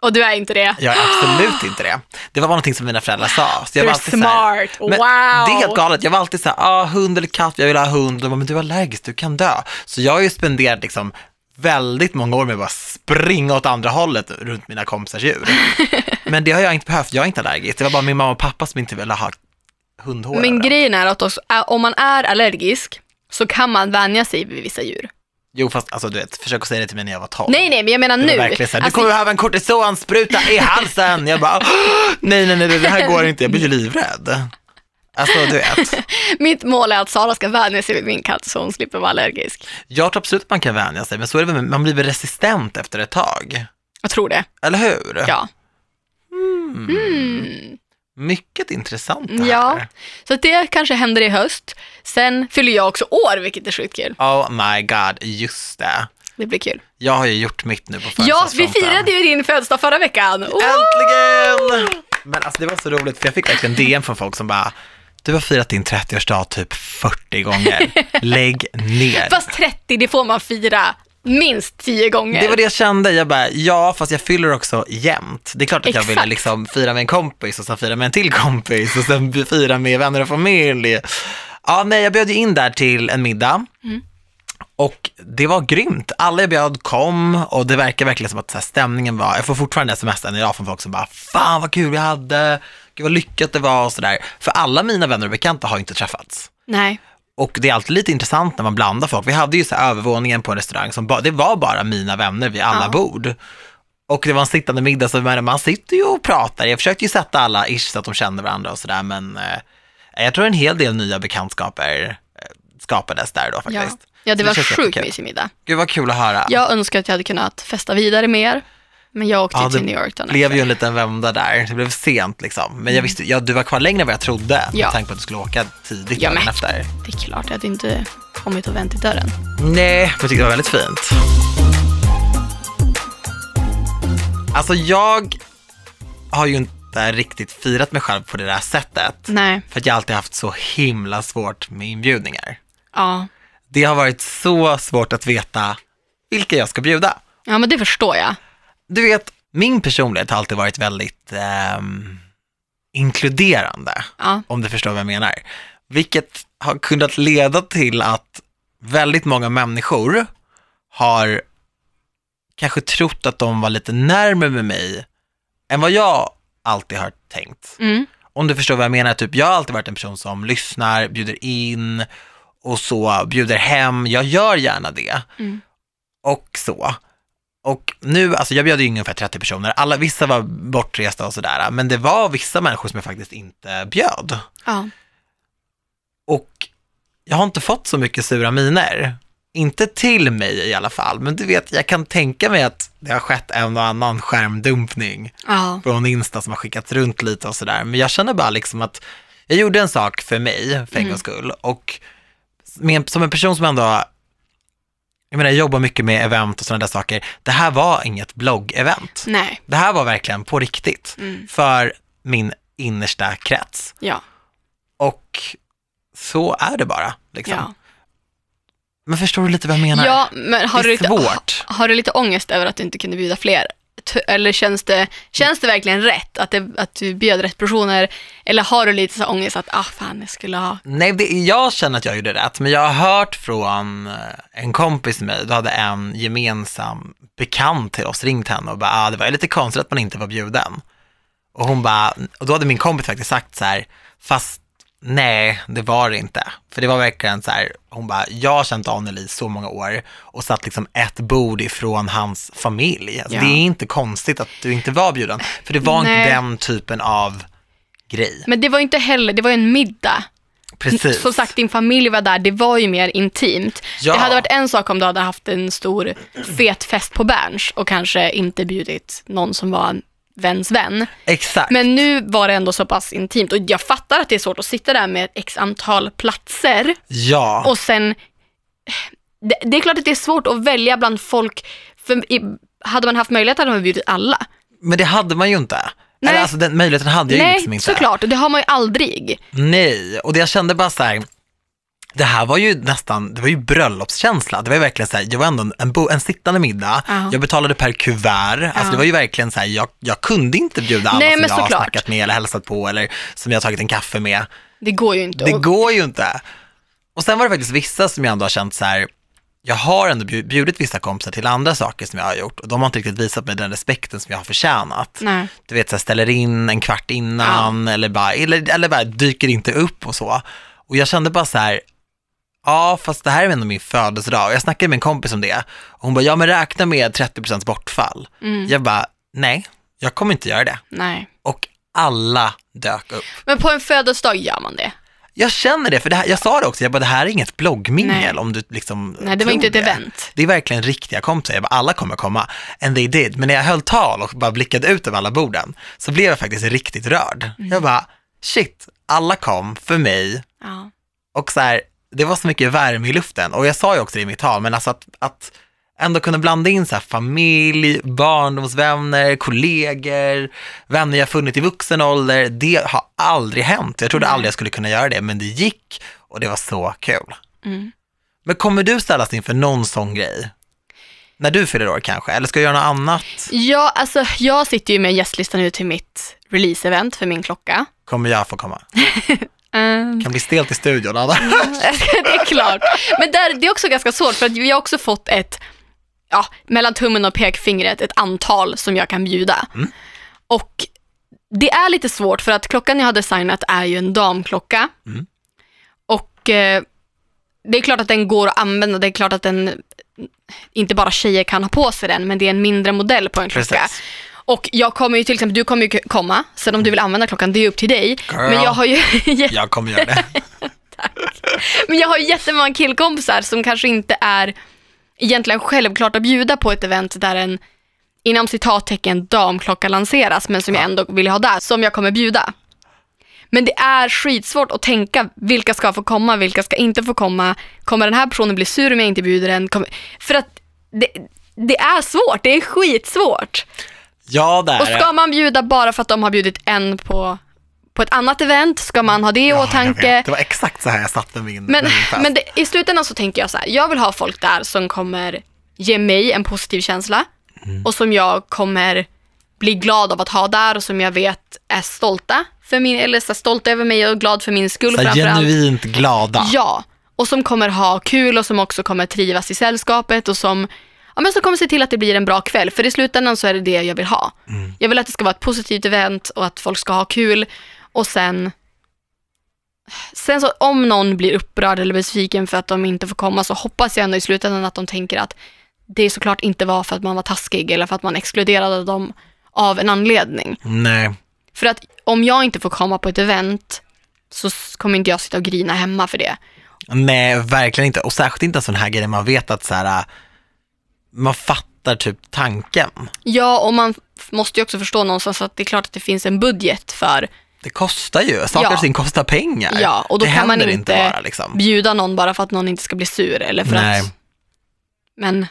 Speaker 2: och du är inte det.
Speaker 1: Jag är
Speaker 2: (gasps)
Speaker 1: absolut inte det. Det var bara någonting som mina föräldrar sa. Så jag
Speaker 2: Du
Speaker 1: var
Speaker 2: är
Speaker 1: alltid så här-
Speaker 2: smart, wow.
Speaker 1: Men Det är helt galet. Jag var alltid så här, ah, hund eller katt, jag vill ha hund. De bara, men du är allergisk, du kan dö. Så jag har ju spenderat liksom väldigt många år med att bara springa åt andra hållet runt mina kompisars
Speaker 2: (laughs)
Speaker 1: djur. Men det har jag inte behövt, jag är inte allergisk. Det var bara min mamma och pappa som inte ville ha hundhår.
Speaker 2: Men
Speaker 1: överallt.
Speaker 2: grejen är att också, ä- om man är allergisk så kan man vänja sig vid vissa djur.
Speaker 1: jo, fast alltså du vet, försök att säga det till mig när jag var 12.
Speaker 2: Nej, nej, men jag menar
Speaker 1: Det var
Speaker 2: nu.
Speaker 1: verkligen så här,
Speaker 2: Alltså,
Speaker 1: du kommer behöva en kortisonspruta i halsen. Jag bara, (gasps) "Åh, nej, nej, nej, det här går inte, jag blir ju livrädd. Alltså du vet,
Speaker 2: Mitt mål är att Sara ska vänja sig vid min katt så hon slipper vara allergisk.
Speaker 1: jag tror absolut att man kan vänja sig, men så är det väl, man blir väl resistent efter ett tag.
Speaker 2: Jag tror det.
Speaker 1: Eller hur?
Speaker 2: Ja.
Speaker 1: Mycket intressant det här.
Speaker 2: Mm, ja. Så att det kanske händer i höst. Sen fyller jag också år, vilket är sjukt kul.
Speaker 1: Oh my god, just det.
Speaker 2: Det blir kul.
Speaker 1: Jag har ju gjort mitt nu på
Speaker 2: Ja, vi
Speaker 1: födelsedagsfronten.
Speaker 2: firade ju din födelsedag förra veckan. Oh!
Speaker 1: Äntligen! Men alltså det var så roligt, för jag fick verkligen DM från folk som bara, du har firat din 30-årsdag typ 40 gånger.
Speaker 2: (laughs)
Speaker 1: Lägg ner.
Speaker 2: Fast 30, det får man fira minst 10 gånger.
Speaker 1: Det var det jag kände, jag bara, ja fast jag fyller också jämt. Det är klart att jag ville
Speaker 2: Exakt.
Speaker 1: liksom fira med en kompis och sen fira med en till kompis och sen fira med vänner och familj. Ja, nej, jag bjöd ju in där till en middag. Och det var grymt. Alla jag bjöd kom och det verkar verkligen som att så här, stämningen var, jag får fortfarande sms än idag från folk som bara, fan vad kul jag hade, gud vad lyckat det var och sådär. För alla mina vänner och bekanta har ju inte träffats.
Speaker 2: Nej.
Speaker 1: Och det är alltid lite intressant när man blandar folk. Vi hade ju så här övervåningen på en restaurang som bara, det var bara mina vänner vid alla
Speaker 2: Ja.
Speaker 1: bord. Och det var en sittande middag, så man- man sitter ju och pratar. Jag försökte ju sätta alla ish så att de kände varandra och sådär, men eh, jag tror en hel del nya bekantskaper eh, skapades där då
Speaker 2: Ja.
Speaker 1: faktiskt.
Speaker 2: ja, det
Speaker 1: Så
Speaker 2: var
Speaker 1: känns
Speaker 2: sjukt
Speaker 1: jättekul.
Speaker 2: mysig middag.
Speaker 1: Gud vad kul att höra.
Speaker 2: Jag önskar att jag hade kunnat festa vidare mer, men jag åkte
Speaker 1: Ja,
Speaker 2: till
Speaker 1: det
Speaker 2: New York dagen
Speaker 1: Det blev
Speaker 2: efter.
Speaker 1: ju en liten vända där, det blev sent liksom. Men jag visste, ja, du var kvar längre än vad jag trodde,
Speaker 2: Ja.
Speaker 1: med tanke på att du skulle åka tidigt
Speaker 2: Ja,
Speaker 1: dagen
Speaker 2: men.
Speaker 1: efter.
Speaker 2: Det är klart, jag hade inte kommit och vänt i dörren.
Speaker 1: Nej, men jag tyckte det var väldigt fint. Alltså jag har ju inte riktigt firat mig själv på det där sättet.
Speaker 2: Nej,
Speaker 1: För att jag alltid haft så himla svårt med inbjudningar.
Speaker 2: ja.
Speaker 1: Det har varit så svårt att veta vilka jag ska bjuda.
Speaker 2: Ja, men det förstår jag.
Speaker 1: Du vet, min personlighet har alltid varit väldigt ehm, inkluderande
Speaker 2: Ja,
Speaker 1: om du förstår vad jag menar. Vilket har kunnat leda till att väldigt många människor har kanske trott att de var lite närmare med mig än vad jag alltid har tänkt.
Speaker 2: mm.
Speaker 1: Om du förstår vad jag menar, typ jag har alltid varit en person som lyssnar, bjuder in och så, bjuder hem, jag gör gärna det.
Speaker 2: Mm.
Speaker 1: Och så. Och nu, alltså jag bjöd ju in ungefär 30 personer, alla, vissa var bortresta och sådär, men det var vissa människor som jag faktiskt inte bjöd.
Speaker 2: ja.
Speaker 1: Och jag har inte fått så mycket sura miner. Inte till mig i alla fall, men du vet, jag kan tänka mig att det har skett en och annan skärmdumpning
Speaker 2: ja.
Speaker 1: från Insta som har skickats runt lite och sådär. Men jag känner bara liksom att jag gjorde en sak för mig, för en gångs skull. Och med, en- som en person som ändå, jag menar, jag jobbar mycket med event och sådana där saker. Det här var inget blogg-event.
Speaker 2: Nej,
Speaker 1: Det här var verkligen på riktigt
Speaker 2: Mm.
Speaker 1: för min innersta krets.
Speaker 2: ja.
Speaker 1: Och så är det bara. Liksom.
Speaker 2: ja.
Speaker 1: Men förstår du lite vad jag menar?
Speaker 2: Ja, men har
Speaker 1: Det är
Speaker 2: du, lite,
Speaker 1: svårt.
Speaker 2: har du lite ångest över att du inte kunde bjuda fler? T- Eller känns det, känns det verkligen rätt att, det, att du bjöd rätt personer? Eller har du lite så här ångest att, ah fan, jag skulle ha...
Speaker 1: Nej, det, jag känner att jag gjorde rätt, men jag har hört från eh, en kompis med mig, då hade en gemensam bekant till oss ringt henne och bara, ah, det var ju lite konstigt att man inte var bjuden. Och hon bara, och då hade min kompis faktiskt sagt så här, fast Nej, det var det inte. För det var verkligen så här, hon bara, jag har känt Anneli så många år och satt liksom ett bord ifrån hans familj. Alltså,
Speaker 2: Ja.
Speaker 1: Det är inte konstigt att du inte var bjuden, för det var
Speaker 2: Nej.
Speaker 1: inte den typen av grej.
Speaker 2: Men det var ju inte heller, det var ju en middag.
Speaker 1: Precis.
Speaker 2: Som sagt, din familj var där, det var ju mer intimt.
Speaker 1: Ja.
Speaker 2: Det hade varit en sak om du hade haft en stor fet fest på Berns och kanske inte bjudit någon som var en väns vän.
Speaker 1: Exakt.
Speaker 2: Men nu var det ändå så pass intimt och jag fattar att det är svårt att sitta där med ett x antal platser
Speaker 1: ja.
Speaker 2: och sen, det, det är klart att det är svårt att välja bland folk, för i, hade man haft möjlighet hade man bjudit alla.
Speaker 1: Men det hade man ju inte.
Speaker 2: Nej.
Speaker 1: Eller alltså den möjligheten hade jag ju
Speaker 2: Nej,
Speaker 1: liksom inte.
Speaker 2: såklart, det har man ju aldrig.
Speaker 1: Nej, och det jag kände bara så här, det här var ju nästan, det var ju bröllopskänsla. Det var ju verkligen så här, jag var ändå en, en, bo, en sittande middag,
Speaker 2: Ja.
Speaker 1: jag betalade per kuvert. Alltså
Speaker 2: Ja.
Speaker 1: det var ju verkligen så här, jag, jag kunde inte bjuda alla
Speaker 2: Nej,
Speaker 1: som
Speaker 2: men
Speaker 1: jag har
Speaker 2: såklart.
Speaker 1: snackat med eller hälsat på eller som jag har tagit en kaffe med.
Speaker 2: Det går ju inte.
Speaker 1: Det
Speaker 2: att-
Speaker 1: går ju inte. Och sen var det faktiskt vissa som jag ändå har känt så här, jag har ändå bjud- bjudit vissa kompisar till andra saker som jag har gjort och de har inte riktigt visat mig den respekten som jag har förtjänat
Speaker 2: Nej.
Speaker 1: du vet, så här, ställer in en kvart innan eller, bara, eller, eller bara dyker inte upp och så. Och jag kände bara så här, ja fast det här är ändå min födelsedag och jag snackade med en kompis om det och hon bara, ja men räkna med 30% bortfall.
Speaker 2: Mm.
Speaker 1: Jag bara, nej, jag kommer inte göra det.
Speaker 2: Nej.
Speaker 1: Och alla dök upp.
Speaker 2: Men på en födelsedag gör man det.
Speaker 1: Jag känner det, för det här, jag sa det också, jag bara, det här är inget bloggmingel
Speaker 2: Nej.
Speaker 1: om du liksom
Speaker 2: Nej, det
Speaker 1: tror
Speaker 2: var inte ett event.
Speaker 1: Det är verkligen riktiga kompisar, jag bara, alla kommer komma. And they did. Men när jag höll tal och bara blickade ut över alla borden så blev jag faktiskt riktigt rörd. Jag bara, shit, alla kom för mig
Speaker 2: Ja.
Speaker 1: och så här, det var så mycket värme i luften. Och jag sa ju också det i mitt tal, men alltså att, att ändå kunna blanda in så här familj, barndomsvänner, kollegor, vänner jag funnit i vuxen ålder, det har aldrig hänt. Jag trodde aldrig jag skulle kunna göra det, men det gick och det var så kul.
Speaker 2: Mm.
Speaker 1: Men kommer du ställas inför någon sån grej? När du fyller år kanske? Eller ska du göra något annat?
Speaker 2: Ja, alltså jag sitter ju med en gästlista nu till mitt release-event för min klocka.
Speaker 1: Kommer jag få komma? Kan bli stelt i studion, Anna.
Speaker 2: (laughs) det är klart. Men där, det är också ganska svårt för att vi har också fått ett, ja, mellan tummen och pekfingret, ett antal som jag kan bjuda.
Speaker 1: Mm.
Speaker 2: Och det är lite svårt för att klockan jag har designat är ju en damklocka.
Speaker 1: Mm.
Speaker 2: Och eh, det är klart att den går att använda, det är klart att den, inte bara tjejer kan ha på sig den, men det är en mindre modell på en klocka.
Speaker 1: Precis. Mm.
Speaker 2: Och jag kommer ju till exempel, du kommer ju komma, sen om du vill använda klockan, det är upp till dig. Men
Speaker 1: Girl.
Speaker 2: jag har ju (laughs) jätte-
Speaker 1: Jag kommer göra det.
Speaker 2: men jag har ju jättemånga killkompisar som kanske inte är egentligen självklart att bjuda på ett event där en inom citattecken damklocka lanseras, men som jag ändå vill ha där, som jag kommer bjuda. Men det är skitsvårt att tänka vilka ska få komma, vilka ska inte få komma. Kommer den här personen bli sur om jag inte bjuder den? Kommer... För att det, det är svårt, det är skitsvårt.
Speaker 1: Ja, det är
Speaker 2: Och
Speaker 1: det.
Speaker 2: ska man bjuda bara för att de har bjudit en på, på ett annat event? Ska man ha det i
Speaker 1: Ja, jag
Speaker 2: åtanke?
Speaker 1: vet. Det var exakt så här jag satt med min
Speaker 2: Men,
Speaker 1: med min fest.
Speaker 2: men det, i slutändan så tänker jag så här, jag vill ha folk där som kommer ge mig en positiv känsla
Speaker 1: Mm.
Speaker 2: och som jag kommer bli glad av att ha där och som jag vet är stolta, för min, eller så här, stolta över mig och glad för min skull
Speaker 1: så här,
Speaker 2: framförallt.
Speaker 1: genuint glada.
Speaker 2: Ja, och som kommer ha kul och som också kommer trivas i sällskapet och som, ja, men som kommer se till att det blir en bra kväll. För i slutändan så är det det jag vill ha. Jag vill att det ska vara ett positivt event och att folk ska ha kul och sen Sen så om någon blir upprörd eller besviken för att de inte får komma så hoppas jag ändå i slutändan att de tänker att det såklart inte var för att man var taskig eller för att man exkluderade dem av en anledning.
Speaker 1: Nej,
Speaker 2: För att om jag inte får komma på ett event så s- kommer inte jag sitta och grina hemma för det.
Speaker 1: nej, verkligen inte. Och särskilt inte en sån här grej där man vet att så här, äh, man fattar typ tanken.
Speaker 2: Ja, och man f- måste ju också förstå någonstans att det är klart att det finns en budget för,
Speaker 1: Det kostar ju, saker
Speaker 2: Ja.
Speaker 1: och ting kostar pengar.
Speaker 2: ja, och då
Speaker 1: det
Speaker 2: kan man
Speaker 1: händer
Speaker 2: inte,
Speaker 1: inte bara liksom.
Speaker 2: bjuda någon bara för att någon inte ska bli sur eller för
Speaker 1: Nej.
Speaker 2: att, men,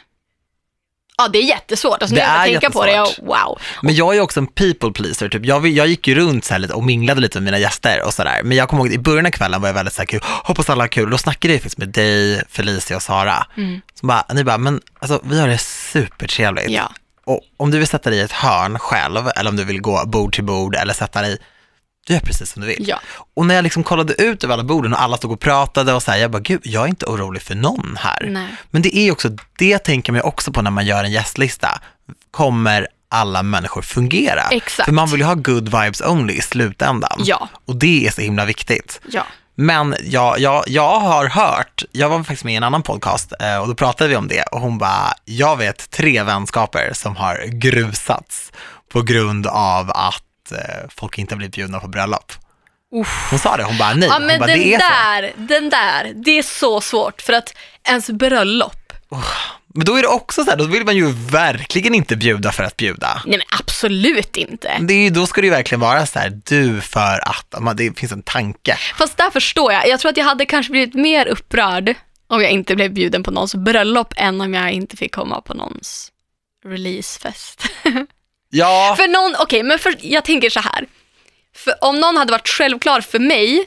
Speaker 2: ja det är jättesvårt, alltså, nu
Speaker 1: Det
Speaker 2: när jag
Speaker 1: är
Speaker 2: tänker på det, jag,
Speaker 1: jättesvårt.
Speaker 2: wow.
Speaker 1: Men jag är också en people pleaser, typ. jag, vill- jag gick ju runt så här lite och minglade lite med mina gäster och sådär. Men jag kommer ihåg i början av kvällen var jag väldigt såhär, hoppas alla har kul. Då snackade jag faktiskt med dig, Felicia och Sara.
Speaker 2: Mm.
Speaker 1: Så bara, ni bara, men alltså vi har det supertrevligt.
Speaker 2: Ja.
Speaker 1: Och om du vill sätta dig i ett hörn själv, eller om du vill gå bord till bord eller sätta dig, du gör precis som du vill.
Speaker 2: Ja.
Speaker 1: Och när jag liksom kollade ut över alla borden och alla stod och pratade och så här, jag bara, gud, jag är inte orolig för någon här.
Speaker 2: Nej.
Speaker 1: Men det är ju också, det tänker man ju också på när man gör en gästlista. Kommer alla människor fungera?
Speaker 2: Exakt.
Speaker 1: För man vill ju ha good vibes only i slutändan.
Speaker 2: Ja.
Speaker 1: Och det är så himla viktigt.
Speaker 2: Ja.
Speaker 1: Men jag, jag, jag har hört, jag var faktiskt med i en annan podcast eh, och då pratade vi om det och hon bara, jag vet tre vänskaper som har grusats på grund av att eh, folk inte blir bjudna på bröllop.
Speaker 2: Uff.
Speaker 1: Hon sa det, hon bara nej,
Speaker 2: Ja
Speaker 1: hon
Speaker 2: men
Speaker 1: bara,
Speaker 2: den
Speaker 1: det är så.
Speaker 2: där, den där, det är så svårt för att ens bröllop,
Speaker 1: Men då är det också så här, då vill man ju verkligen inte bjuda för att bjuda.
Speaker 2: nej men absolut inte.
Speaker 1: Det är ju, då ska det ju verkligen vara så här, du för att, man, det finns en tanke.
Speaker 2: Fast där förstår jag, jag tror att jag hade kanske blivit mer upprörd om jag inte blev bjuden på någons bröllop än om jag inte fick komma på någons releasefest. (laughs)
Speaker 1: Ja,
Speaker 2: För någon, okej, men för, jag tänker så här. För om någon hade varit självklar för mig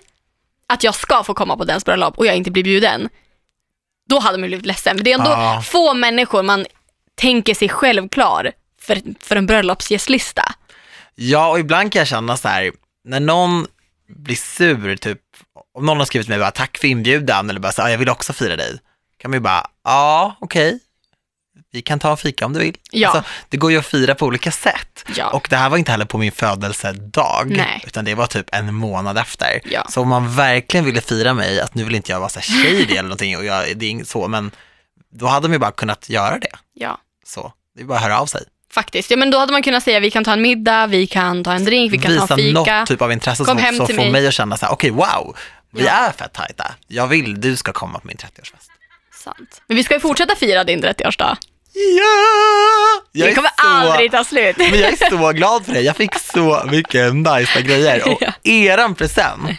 Speaker 2: att jag ska få komma på dens bröllop och jag inte blir bjuden, då hade man ju blivit ledsen. Men det är ändå
Speaker 1: Ja.
Speaker 2: få människor man tänker sig självklar för, för en bröllopsgästlista.
Speaker 1: ja, och ibland kan jag känna så här, när någon blir sur, typ, om någon har skrivit till mig bara tack för inbjudan eller bara så här, "Ah, jag vill också fira dig, kan man ju bara, ja, okej, vi kan ta en fika om du vill.
Speaker 2: Ja.
Speaker 1: Alltså, det går ju att fira på olika sätt.
Speaker 2: Ja.
Speaker 1: Och det här var inte heller på min födelsedag,
Speaker 2: Nej.
Speaker 1: utan det var typ en månad efter.
Speaker 2: Ja.
Speaker 1: Så om man verkligen ville fira mig, att nu vill inte jag vara så här shady
Speaker 2: (laughs)
Speaker 1: eller någonting, och jag, det är inget så, men då hade de ju bara kunnat göra det.
Speaker 2: Ja,
Speaker 1: Så, det är bara att höra av sig.
Speaker 2: faktiskt. Ja, men då hade man kunnat säga vi kan ta en middag, vi kan ta en drink, vi kan ta
Speaker 1: Visa
Speaker 2: en fika.
Speaker 1: något typ av intresse
Speaker 2: Kom
Speaker 1: som,
Speaker 2: hem
Speaker 1: som
Speaker 2: till
Speaker 1: får
Speaker 2: mig.
Speaker 1: mig att känna så här, okej wow, vi
Speaker 2: Ja.
Speaker 1: är fett tajta. Jag vill du ska komma på min 30-årsfest.
Speaker 2: Sant. Men vi ska ju fortsätta fira din 30-årsdag.
Speaker 1: Ja! Jag
Speaker 2: Det
Speaker 1: är
Speaker 2: kommer
Speaker 1: så-
Speaker 2: aldrig ta slut.
Speaker 1: Men jag är så glad för det. Jag fick så mycket nice
Speaker 2: (laughs)
Speaker 1: grejer. Och
Speaker 2: Ja.
Speaker 1: eran present.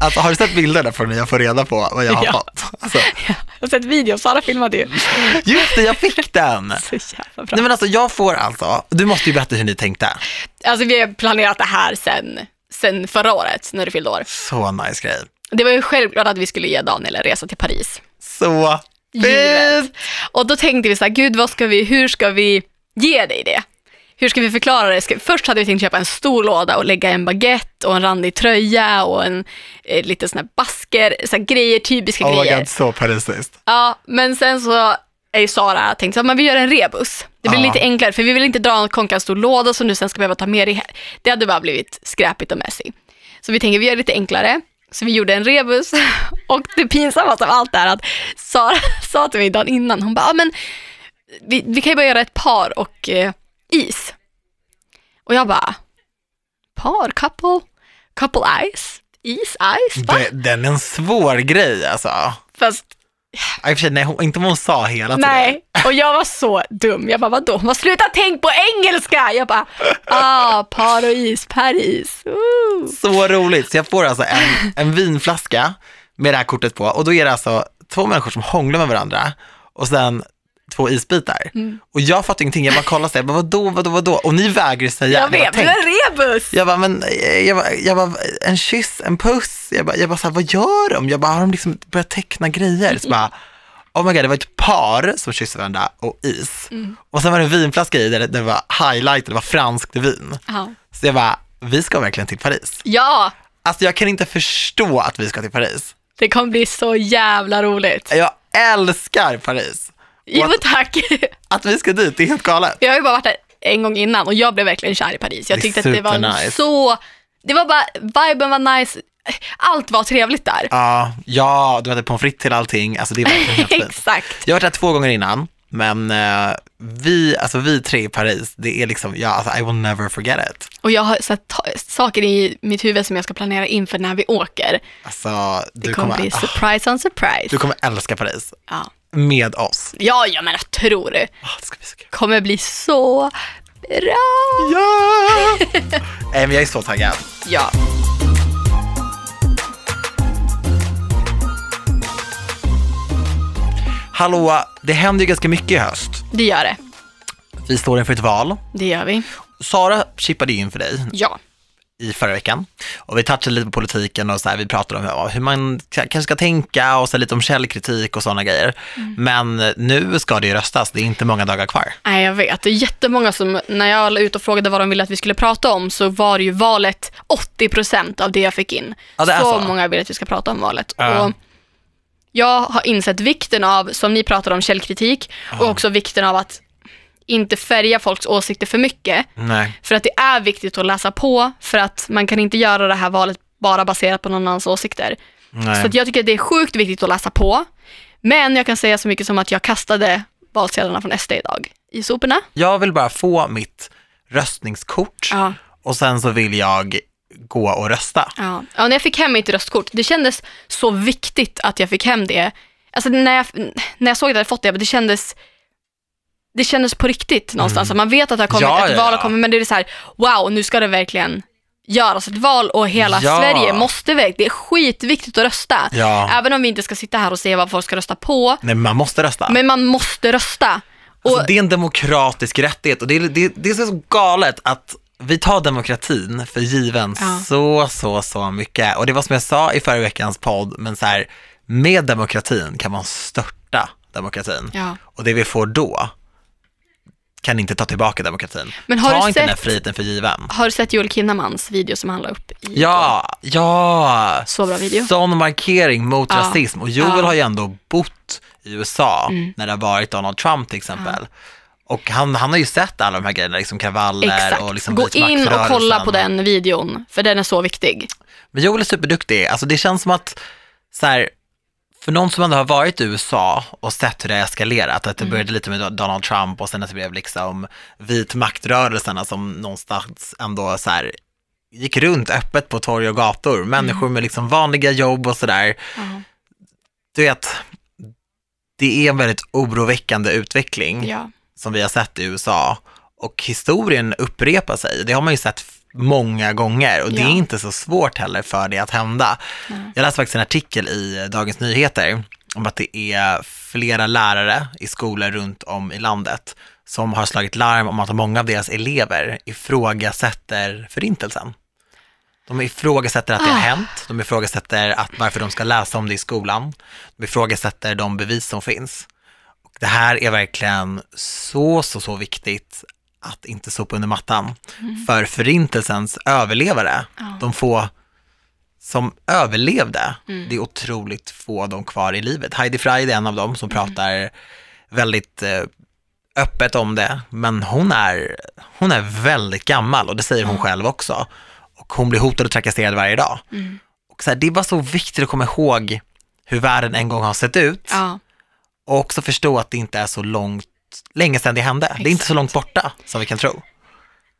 Speaker 1: Alltså har du sett bilderna från när jag får reda på vad jag har
Speaker 2: Ja.
Speaker 1: fått? Alltså,
Speaker 2: Jag har sett videos, Sara filmade ju. (laughs)
Speaker 1: just det, jag fick den!
Speaker 2: Så jävla bra.
Speaker 1: Nej men alltså jag får alltså, du måste ju berätta hur ni tänkte.
Speaker 2: Alltså vi har planerat det här sen, sen förra året, när du fyllde år.
Speaker 1: Så nice grej.
Speaker 2: Det var ju självklart att vi skulle ge Daniel en resa till Paris.
Speaker 1: Så
Speaker 2: Givet.
Speaker 1: fint!
Speaker 2: Och då tänkte vi så här, gud vad ska vi, hur ska vi ge dig det? Hur ska vi förklara det? Ska, först hade vi tänkt köpa en stor låda och lägga en baguette och en randig tröja och en eh, lite sån här basker, så här grejer, typiska
Speaker 1: Oh my
Speaker 2: grejer.
Speaker 1: god, så parisiskt.
Speaker 2: Ja, men sen så är ju Sara tänkt så här, men vi gör en rebus. Det blir
Speaker 1: Ja.
Speaker 2: lite enklare för vi vill inte dra en konka stor låda som du sen ska behöva ta med dig. här. Det hade bara blivit skräpigt och messy. Så vi tänker vi gör det lite enklare. Så vi gjorde en rebus (laughs) och det pinsammaste av allt är att Sara (laughs) sa till mig dagen innan, hon bara, "Ja, men vi, vi kan ju bara göra ett par och eh, is. Och jag bara, par, couple, couple ice, is, ice, va?
Speaker 1: Det- Den är en svår grej alltså. Ja,
Speaker 2: Fast
Speaker 1: I och för sig, nej, hon, inte om hon sa hela till dig.
Speaker 2: Nej, och jag var så dum. Jag bara, vadå? Hon bara, sluta tänk på engelska! Jag bara, ah, par och is, Paris. Ooh.
Speaker 1: Så roligt, så jag får alltså en, en vinflaska med det här kortet på och då är det alltså två människor som hånglar med varandra och sen två isbitar.
Speaker 2: Mm.
Speaker 1: Och jag fattar ingenting, jag bara kollar så här, jag bara, vadå, vadå, vadå? Och ni vägrar säga.
Speaker 2: Jag vet, det
Speaker 1: bara,
Speaker 2: var
Speaker 1: "Tänk."
Speaker 2: en rebus!
Speaker 1: jag bara, men eh, jag bara, jag bara, en kyss, en puss. Jag bara, jag bara så här, vad gör de? Jag bara, har de liksom börjat teckna grejer? Så bara, oh my god, det var ett par som kysste varandra och is. Och sen var det en vinflaska i där det- det var highlight, det var franskt vin.
Speaker 2: Ja.
Speaker 1: Så jag bara, vi ska verkligen till Paris.
Speaker 2: Ja,
Speaker 1: Alltså jag kan inte förstå att vi ska till Paris.
Speaker 2: det kommer bli så jävla roligt.
Speaker 1: Jag älskar Paris.
Speaker 2: Jo tack. (laughs)
Speaker 1: Att vi ska dit, det är helt galet.
Speaker 2: Jag har ju bara varit där en gång innan och jag blev verkligen kär i Paris. Jag
Speaker 1: Det är
Speaker 2: tyckte att det var
Speaker 1: supernice.
Speaker 2: så, det var bara, viben var nice, allt var trevligt där.
Speaker 1: Ja, ja, du hade pommes frites till allting. Alltså det är verkligen
Speaker 2: (laughs)
Speaker 1: helt fint.
Speaker 2: Exakt.
Speaker 1: Jag har varit där två gånger innan, men eh, vi, alltså vi tre i Paris, det är liksom, ja, alltså, I will never forget it.
Speaker 2: Och jag har så här, ta- saker i mitt huvud som jag ska planera inför när vi åker.
Speaker 1: Alltså, du
Speaker 2: Det kommer,
Speaker 1: kommer,
Speaker 2: bli
Speaker 1: ah,
Speaker 2: surprise on surprise.
Speaker 1: du kommer älska Paris
Speaker 2: Ja.
Speaker 1: med oss.
Speaker 2: Ja, jag menar, tror du?
Speaker 1: Ah, det ska bli så kul.
Speaker 2: Kommer bli så bra!
Speaker 1: Ja! (laughs) Nej, men jag är så taggad.
Speaker 2: Ja.
Speaker 1: Hallå, det händer ju ganska mycket i höst.
Speaker 2: Det gör det.
Speaker 1: Vi står inför ett val.
Speaker 2: Det gör vi.
Speaker 1: Sara chippade ju in för dig
Speaker 2: Ja.
Speaker 1: i förra veckan och vi touchade lite på politiken och så här, vi pratade om ja, hur man k- kanske ska tänka och så lite om källkritik och sådana grejer. Men nu ska det ju röstas, det är inte många dagar kvar.
Speaker 2: Nej, jag vet. Det är jättemånga som, när jag la ut och frågade vad de ville att vi skulle prata om, så var det ju valet 80% av det jag fick in.
Speaker 1: Ja, det är
Speaker 2: så,
Speaker 1: så.
Speaker 2: många vill att vi ska prata om valet.
Speaker 1: Ja.
Speaker 2: Och jag har insett vikten av, som ni pratar om, källkritik och också vikten av att inte färga folks åsikter för mycket.
Speaker 1: Nej.
Speaker 2: För att det är viktigt att läsa på för att man kan inte göra det här valet bara baserat på någon annans åsikter.
Speaker 1: Nej.
Speaker 2: Så att jag tycker att det är sjukt viktigt att läsa på. Men jag kan säga så mycket som att jag kastade valsedlarna från SD idag i soporna.
Speaker 1: Jag vill bara få mitt röstningskort
Speaker 2: Ja.
Speaker 1: och sen så vill jag gå och rösta.
Speaker 2: Ja. ja, när jag fick hem mitt röstkort, det kändes så viktigt att jag fick hem det. Alltså när jag, när jag såg att jag hade fått det, men det kändes det kändes på riktigt någonstans. Man vet att det har kommit,
Speaker 1: Mm. Ja,
Speaker 2: att
Speaker 1: ja,
Speaker 2: val har
Speaker 1: ja.
Speaker 2: kommit, men det är så här, wow, nu ska det verkligen göras ett val och hela
Speaker 1: Ja.
Speaker 2: Sverige måste iväg. Det är skitviktigt att rösta.
Speaker 1: Ja.
Speaker 2: Även om vi inte ska sitta här och säga vad folk ska rösta på,
Speaker 1: Nej, men man måste rösta.
Speaker 2: men man måste rösta. Och,
Speaker 1: Alltså, det är en demokratisk rättighet och det är, det, det är så galet att vi tar demokratin för given
Speaker 2: Ja.
Speaker 1: så, så, så mycket. Och det var som jag sa i förra veckans podd, men så här, med demokratin kan man störta demokratin.
Speaker 2: ja.
Speaker 1: Och det vi får då kan inte ta tillbaka demokratin.
Speaker 2: Men har
Speaker 1: ta
Speaker 2: du
Speaker 1: inte den här
Speaker 2: sett-
Speaker 1: friheten för given.
Speaker 2: Har du sett Joel Kinnamans video som han la upp? I
Speaker 1: Ja, ja.
Speaker 2: Så bra video.
Speaker 1: Sån markering mot
Speaker 2: Ja.
Speaker 1: rasism. Och Joel
Speaker 2: Ja. Mm.
Speaker 1: har ju ändå bott i USA när det har varit Donald Trump till exempel. Och han, han har ju sett alla de här grejerna, liksom kravaller
Speaker 2: Exakt.
Speaker 1: och liksom
Speaker 2: Gå
Speaker 1: vit
Speaker 2: in och
Speaker 1: maktrörelsen.
Speaker 2: kolla på den videon, för den är så viktig.
Speaker 1: Men Joel är superduktig. Alltså det känns som att, så här, för någon som ändå har varit i USA och sett hur det har eskalerat, att det började lite med Donald Trump och sen att det blev liksom vit maktrörelserna som någonstans ändå så här gick runt öppet på torg och gator, människor med liksom vanliga jobb och sådär. Du vet, det är en väldigt oroväckande utveckling
Speaker 2: Ja.
Speaker 1: som vi har sett i USA och historien upprepar sig. Det har man ju sett f- många gånger och det
Speaker 2: Ja.
Speaker 1: är inte så svårt heller för det att hända. Jag läste faktiskt en artikel i Dagens Nyheter om att det är flera lärare i skolor runt om i landet som har slagit larm om att många av deras elever ifrågasätter förintelsen. De ifrågasätter att det har
Speaker 2: Ah.
Speaker 1: hänt, de ifrågasätter att varför de ska läsa om det i skolan, de ifrågasätter de bevis som finns. Det här är verkligen så, så, så viktigt att inte sopa under mattan. För förintelsens överlevare, de få som överlevde, det är otroligt få de kvar i livet. Heidi Fried är en av dem som pratar väldigt eh, öppet om det, men hon är, hon är väldigt gammal och det säger hon själv också. Och hon blir hotad och trakasserad varje dag. Och så här, det är bara så viktigt att komma ihåg hur världen en gång har sett ut
Speaker 2: Ja.
Speaker 1: och också förstå att det inte är så långt, länge sedan det hände. Det är inte så långt borta som vi kan tro.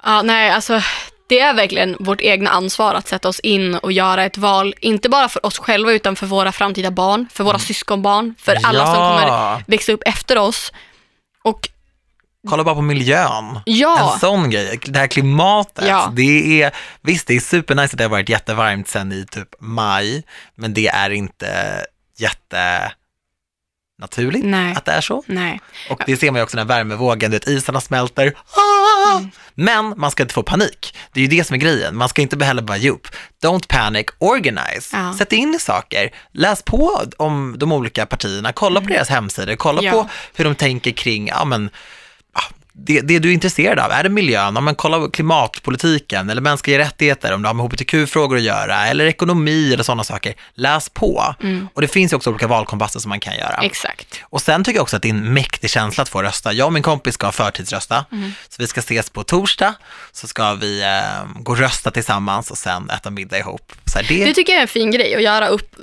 Speaker 2: ja, nej alltså det är verkligen vårt egna ansvar att sätta oss in och göra ett val, inte bara för oss själva utan för våra framtida barn, för våra syskonbarn, för alla som
Speaker 1: Mm. Ja.
Speaker 2: kommer växa upp efter oss. Och
Speaker 1: Kolla bara på miljön.
Speaker 2: ja,
Speaker 1: En sån grej, det här klimatet.
Speaker 2: Ja.
Speaker 1: Det är, visst, det är supernice att det har varit jättevarmt sen i typ maj, men det är inte jätte naturligt
Speaker 2: Nej.
Speaker 1: att det är så.
Speaker 2: nej.
Speaker 1: Och det ser man ju också när värmevågen, du vet isarna smälter. Ah! Men man ska inte få panik. Det är ju det som är grejen. Man ska inte heller bara ge upp. Don't panic, organize.
Speaker 2: Ja.
Speaker 1: Sätt in i saker. Läs på om de olika partierna. Kolla på deras hemsidor. Kolla
Speaker 2: Mm. Ja.
Speaker 1: på hur de tänker kring, ja men, ja, det, det du är intresserad av, är det miljön? Ja, men kolla på klimatpolitiken eller mänskliga rättigheter om det har med hbtq-frågor att göra eller ekonomi eller sådana saker. Läs på.
Speaker 2: Mm.
Speaker 1: Och det finns ju också olika valkompasser som man kan göra.
Speaker 2: Exakt.
Speaker 1: Och sen tycker jag också att det är en mäktig känsla att få rösta. Jag och min kompis ska förtidsrösta, så vi ska ses på torsdag, så ska vi eh, gå och rösta tillsammans och sen äta middag ihop. Så här, det,
Speaker 2: Det tycker jag är en fin grej att göra upp.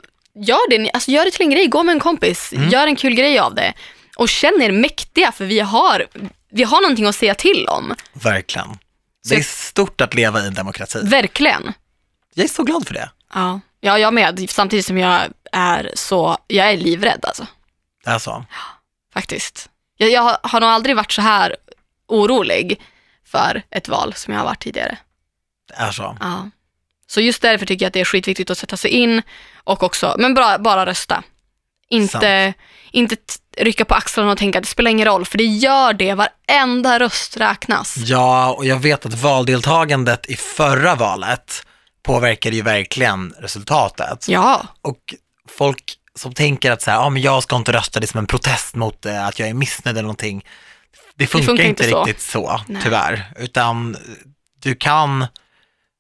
Speaker 2: Gör det, ni- alltså gör det till en grej, gå med en kompis,
Speaker 1: Mm.
Speaker 2: gör en kul grej av det. Och känn er mäktiga för vi har, vi har någonting att säga till om.
Speaker 1: Verkligen.
Speaker 2: Så-
Speaker 1: Det är stort att leva i en demokrati.
Speaker 2: Verkligen.
Speaker 1: Jag är så glad för det.
Speaker 2: Ja. ja, jag med. Samtidigt som jag är så, jag är livrädd alltså,
Speaker 1: Det är så.
Speaker 2: faktiskt. Jag, jag har- har nog aldrig varit så här orolig för ett val som jag har varit tidigare.
Speaker 1: Det är så.
Speaker 2: Ja. Så just därför tycker jag att det är skitviktigt att sätta sig in och också, men bara, bara rösta. Inte, inte t- rycka på axlarna och tänka att det spelar ingen roll, för det gör det. Varenda röst räknas.
Speaker 1: Ja, och jag vet att valdeltagandet i förra valet påverkade ju verkligen resultatet.
Speaker 2: Ja,
Speaker 1: Och folk som tänker att så här, ah, men jag ska inte rösta, det är som en protest mot eh, att jag är missnöjd eller någonting. Det funkar,
Speaker 2: funkar
Speaker 1: inte
Speaker 2: inte så.
Speaker 1: riktigt så,
Speaker 2: Nej.
Speaker 1: tyvärr. Utan du kan,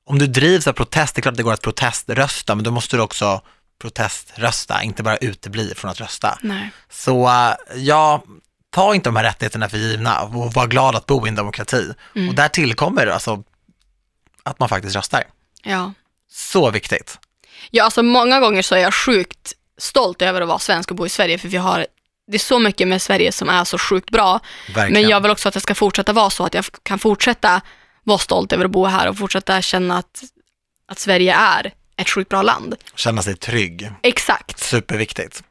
Speaker 1: om du drivs av protest, det är klart att det går att proteströsta, men då måste du också proteströsta, inte bara utebli från att rösta.
Speaker 2: nej.
Speaker 1: Så eh, ja, Ta inte de här rättigheterna för givna och var glad att bo i en demokrati.
Speaker 2: Mm.
Speaker 1: Och där tillkommer alltså att man faktiskt röstar.
Speaker 2: Ja.
Speaker 1: Så viktigt.
Speaker 2: ja, alltså många gånger så är jag sjukt stolt över att vara svensk och bo i Sverige för vi har, det är så mycket med Sverige som är så sjukt bra.
Speaker 1: Verkligen.
Speaker 2: Men jag vill också att det ska fortsätta vara så, att jag kan fortsätta vara stolt över att bo här och fortsätta känna att, att Sverige är ett sjukt bra land.
Speaker 1: Känna sig trygg.
Speaker 2: Exakt.
Speaker 1: Superviktigt.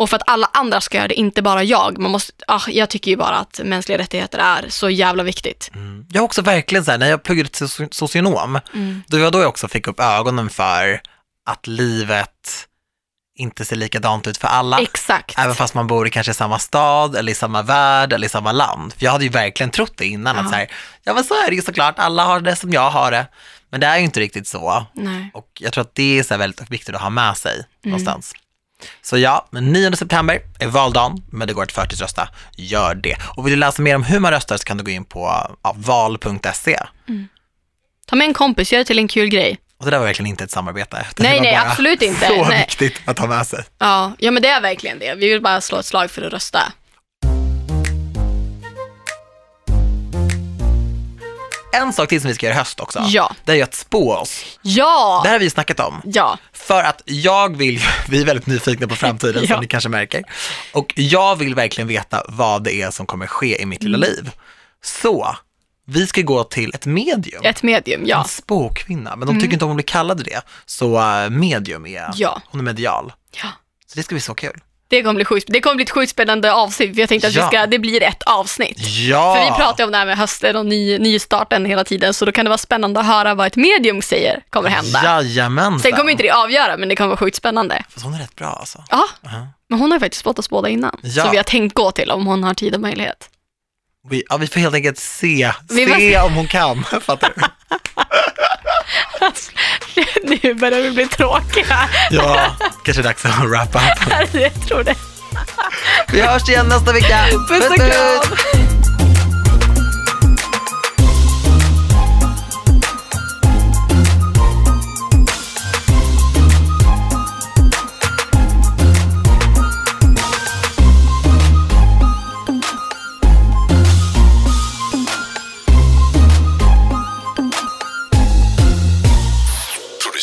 Speaker 2: Och för att alla andra ska göra det, inte bara jag. Man måste, ah, jag tycker ju bara att mänskliga rättigheter är så jävla viktigt.
Speaker 1: Jag har också verkligen så här, när jag pluggade till soci- socionom,
Speaker 2: Mm.
Speaker 1: det var då jag också fick upp ögonen för att livet inte ser likadant ut för alla.
Speaker 2: Exakt.
Speaker 1: Även fast man bor i kanske samma stad eller i samma värld eller i samma land. För jag hade ju verkligen trott det innan, att
Speaker 2: Ja.
Speaker 1: så här, ja men så är det ju såklart, alla har det som jag har det. Men det är ju inte riktigt så.
Speaker 2: Nej.
Speaker 1: Och jag tror att det är så här väldigt viktigt att ha med sig
Speaker 2: Mm.
Speaker 1: någonstans. Så ja, men 9 september är valdagen, men det går att förtidsrösta. Gör det. Och vill du läsa mer om hur man röstar så kan du gå in på ja, val.se.
Speaker 2: Ta med en kompis, gör det till en kul grej.
Speaker 1: Och det där var verkligen inte ett samarbete. utan
Speaker 2: Nej,
Speaker 1: det var
Speaker 2: nej,
Speaker 1: bara
Speaker 2: absolut inte.
Speaker 1: Så
Speaker 2: Nej.
Speaker 1: viktigt att ha med sig.
Speaker 2: Ja, ja, men det är verkligen det. Vi vill bara slå ett slag för att rösta.
Speaker 1: En sak till som vi ska göra i höst också,
Speaker 2: Ja.
Speaker 1: det är ju att spå oss.
Speaker 2: Ja!
Speaker 1: Det här har vi ju snackat om.
Speaker 2: Ja,
Speaker 1: För att jag vill, (laughs) vi är väldigt nyfikna på framtiden
Speaker 2: Ja.
Speaker 1: som ni kanske märker. Och jag vill verkligen veta vad det är som kommer ske i mitt lilla
Speaker 2: Mm.
Speaker 1: liv. Så, vi ska gå till ett Mm. medium.
Speaker 2: ett medium,
Speaker 1: En
Speaker 2: ja. Mm.
Speaker 1: spåkvinna, men de tycker inte om att bli kallade det. Så eh, medium är,
Speaker 2: Ja.
Speaker 1: hon är medial.
Speaker 2: ja.
Speaker 1: Så det ska bli så kul.
Speaker 2: Det kommer bli sjukt, det kommer bli ett sjukt spännande avsnitt. för Jag tänkte att
Speaker 1: Ja.
Speaker 2: vi ska, det blir ett avsnitt.
Speaker 1: Ja!
Speaker 2: För vi pratar ju om det här med hösten och ny, nystarten hela tiden, så då kan det vara spännande att höra vad ett medium säger kommer hända.
Speaker 1: Jajamensan.
Speaker 2: Sen kommer inte det avgöra, men det kommer vara sjukt spännande.
Speaker 1: Fast hon är rätt bra alltså.
Speaker 2: Ja,
Speaker 1: Ja.
Speaker 2: men hon har ju faktiskt fått oss båda innan.
Speaker 1: Ja.
Speaker 2: Så vi har tänkt gå till om hon har tid och möjlighet. (laughs)
Speaker 1: Vi, ja, vi får helt enkelt se,
Speaker 2: Vi
Speaker 1: se om hon kan. (laughs) Fattar du?
Speaker 2: nu börjar vi bli tråkiga. (laughs)
Speaker 1: Ja, kanske dags att wrap up.
Speaker 2: Jag tror det.
Speaker 1: Vi hörs igen nästa vecka.
Speaker 2: Puss och kram!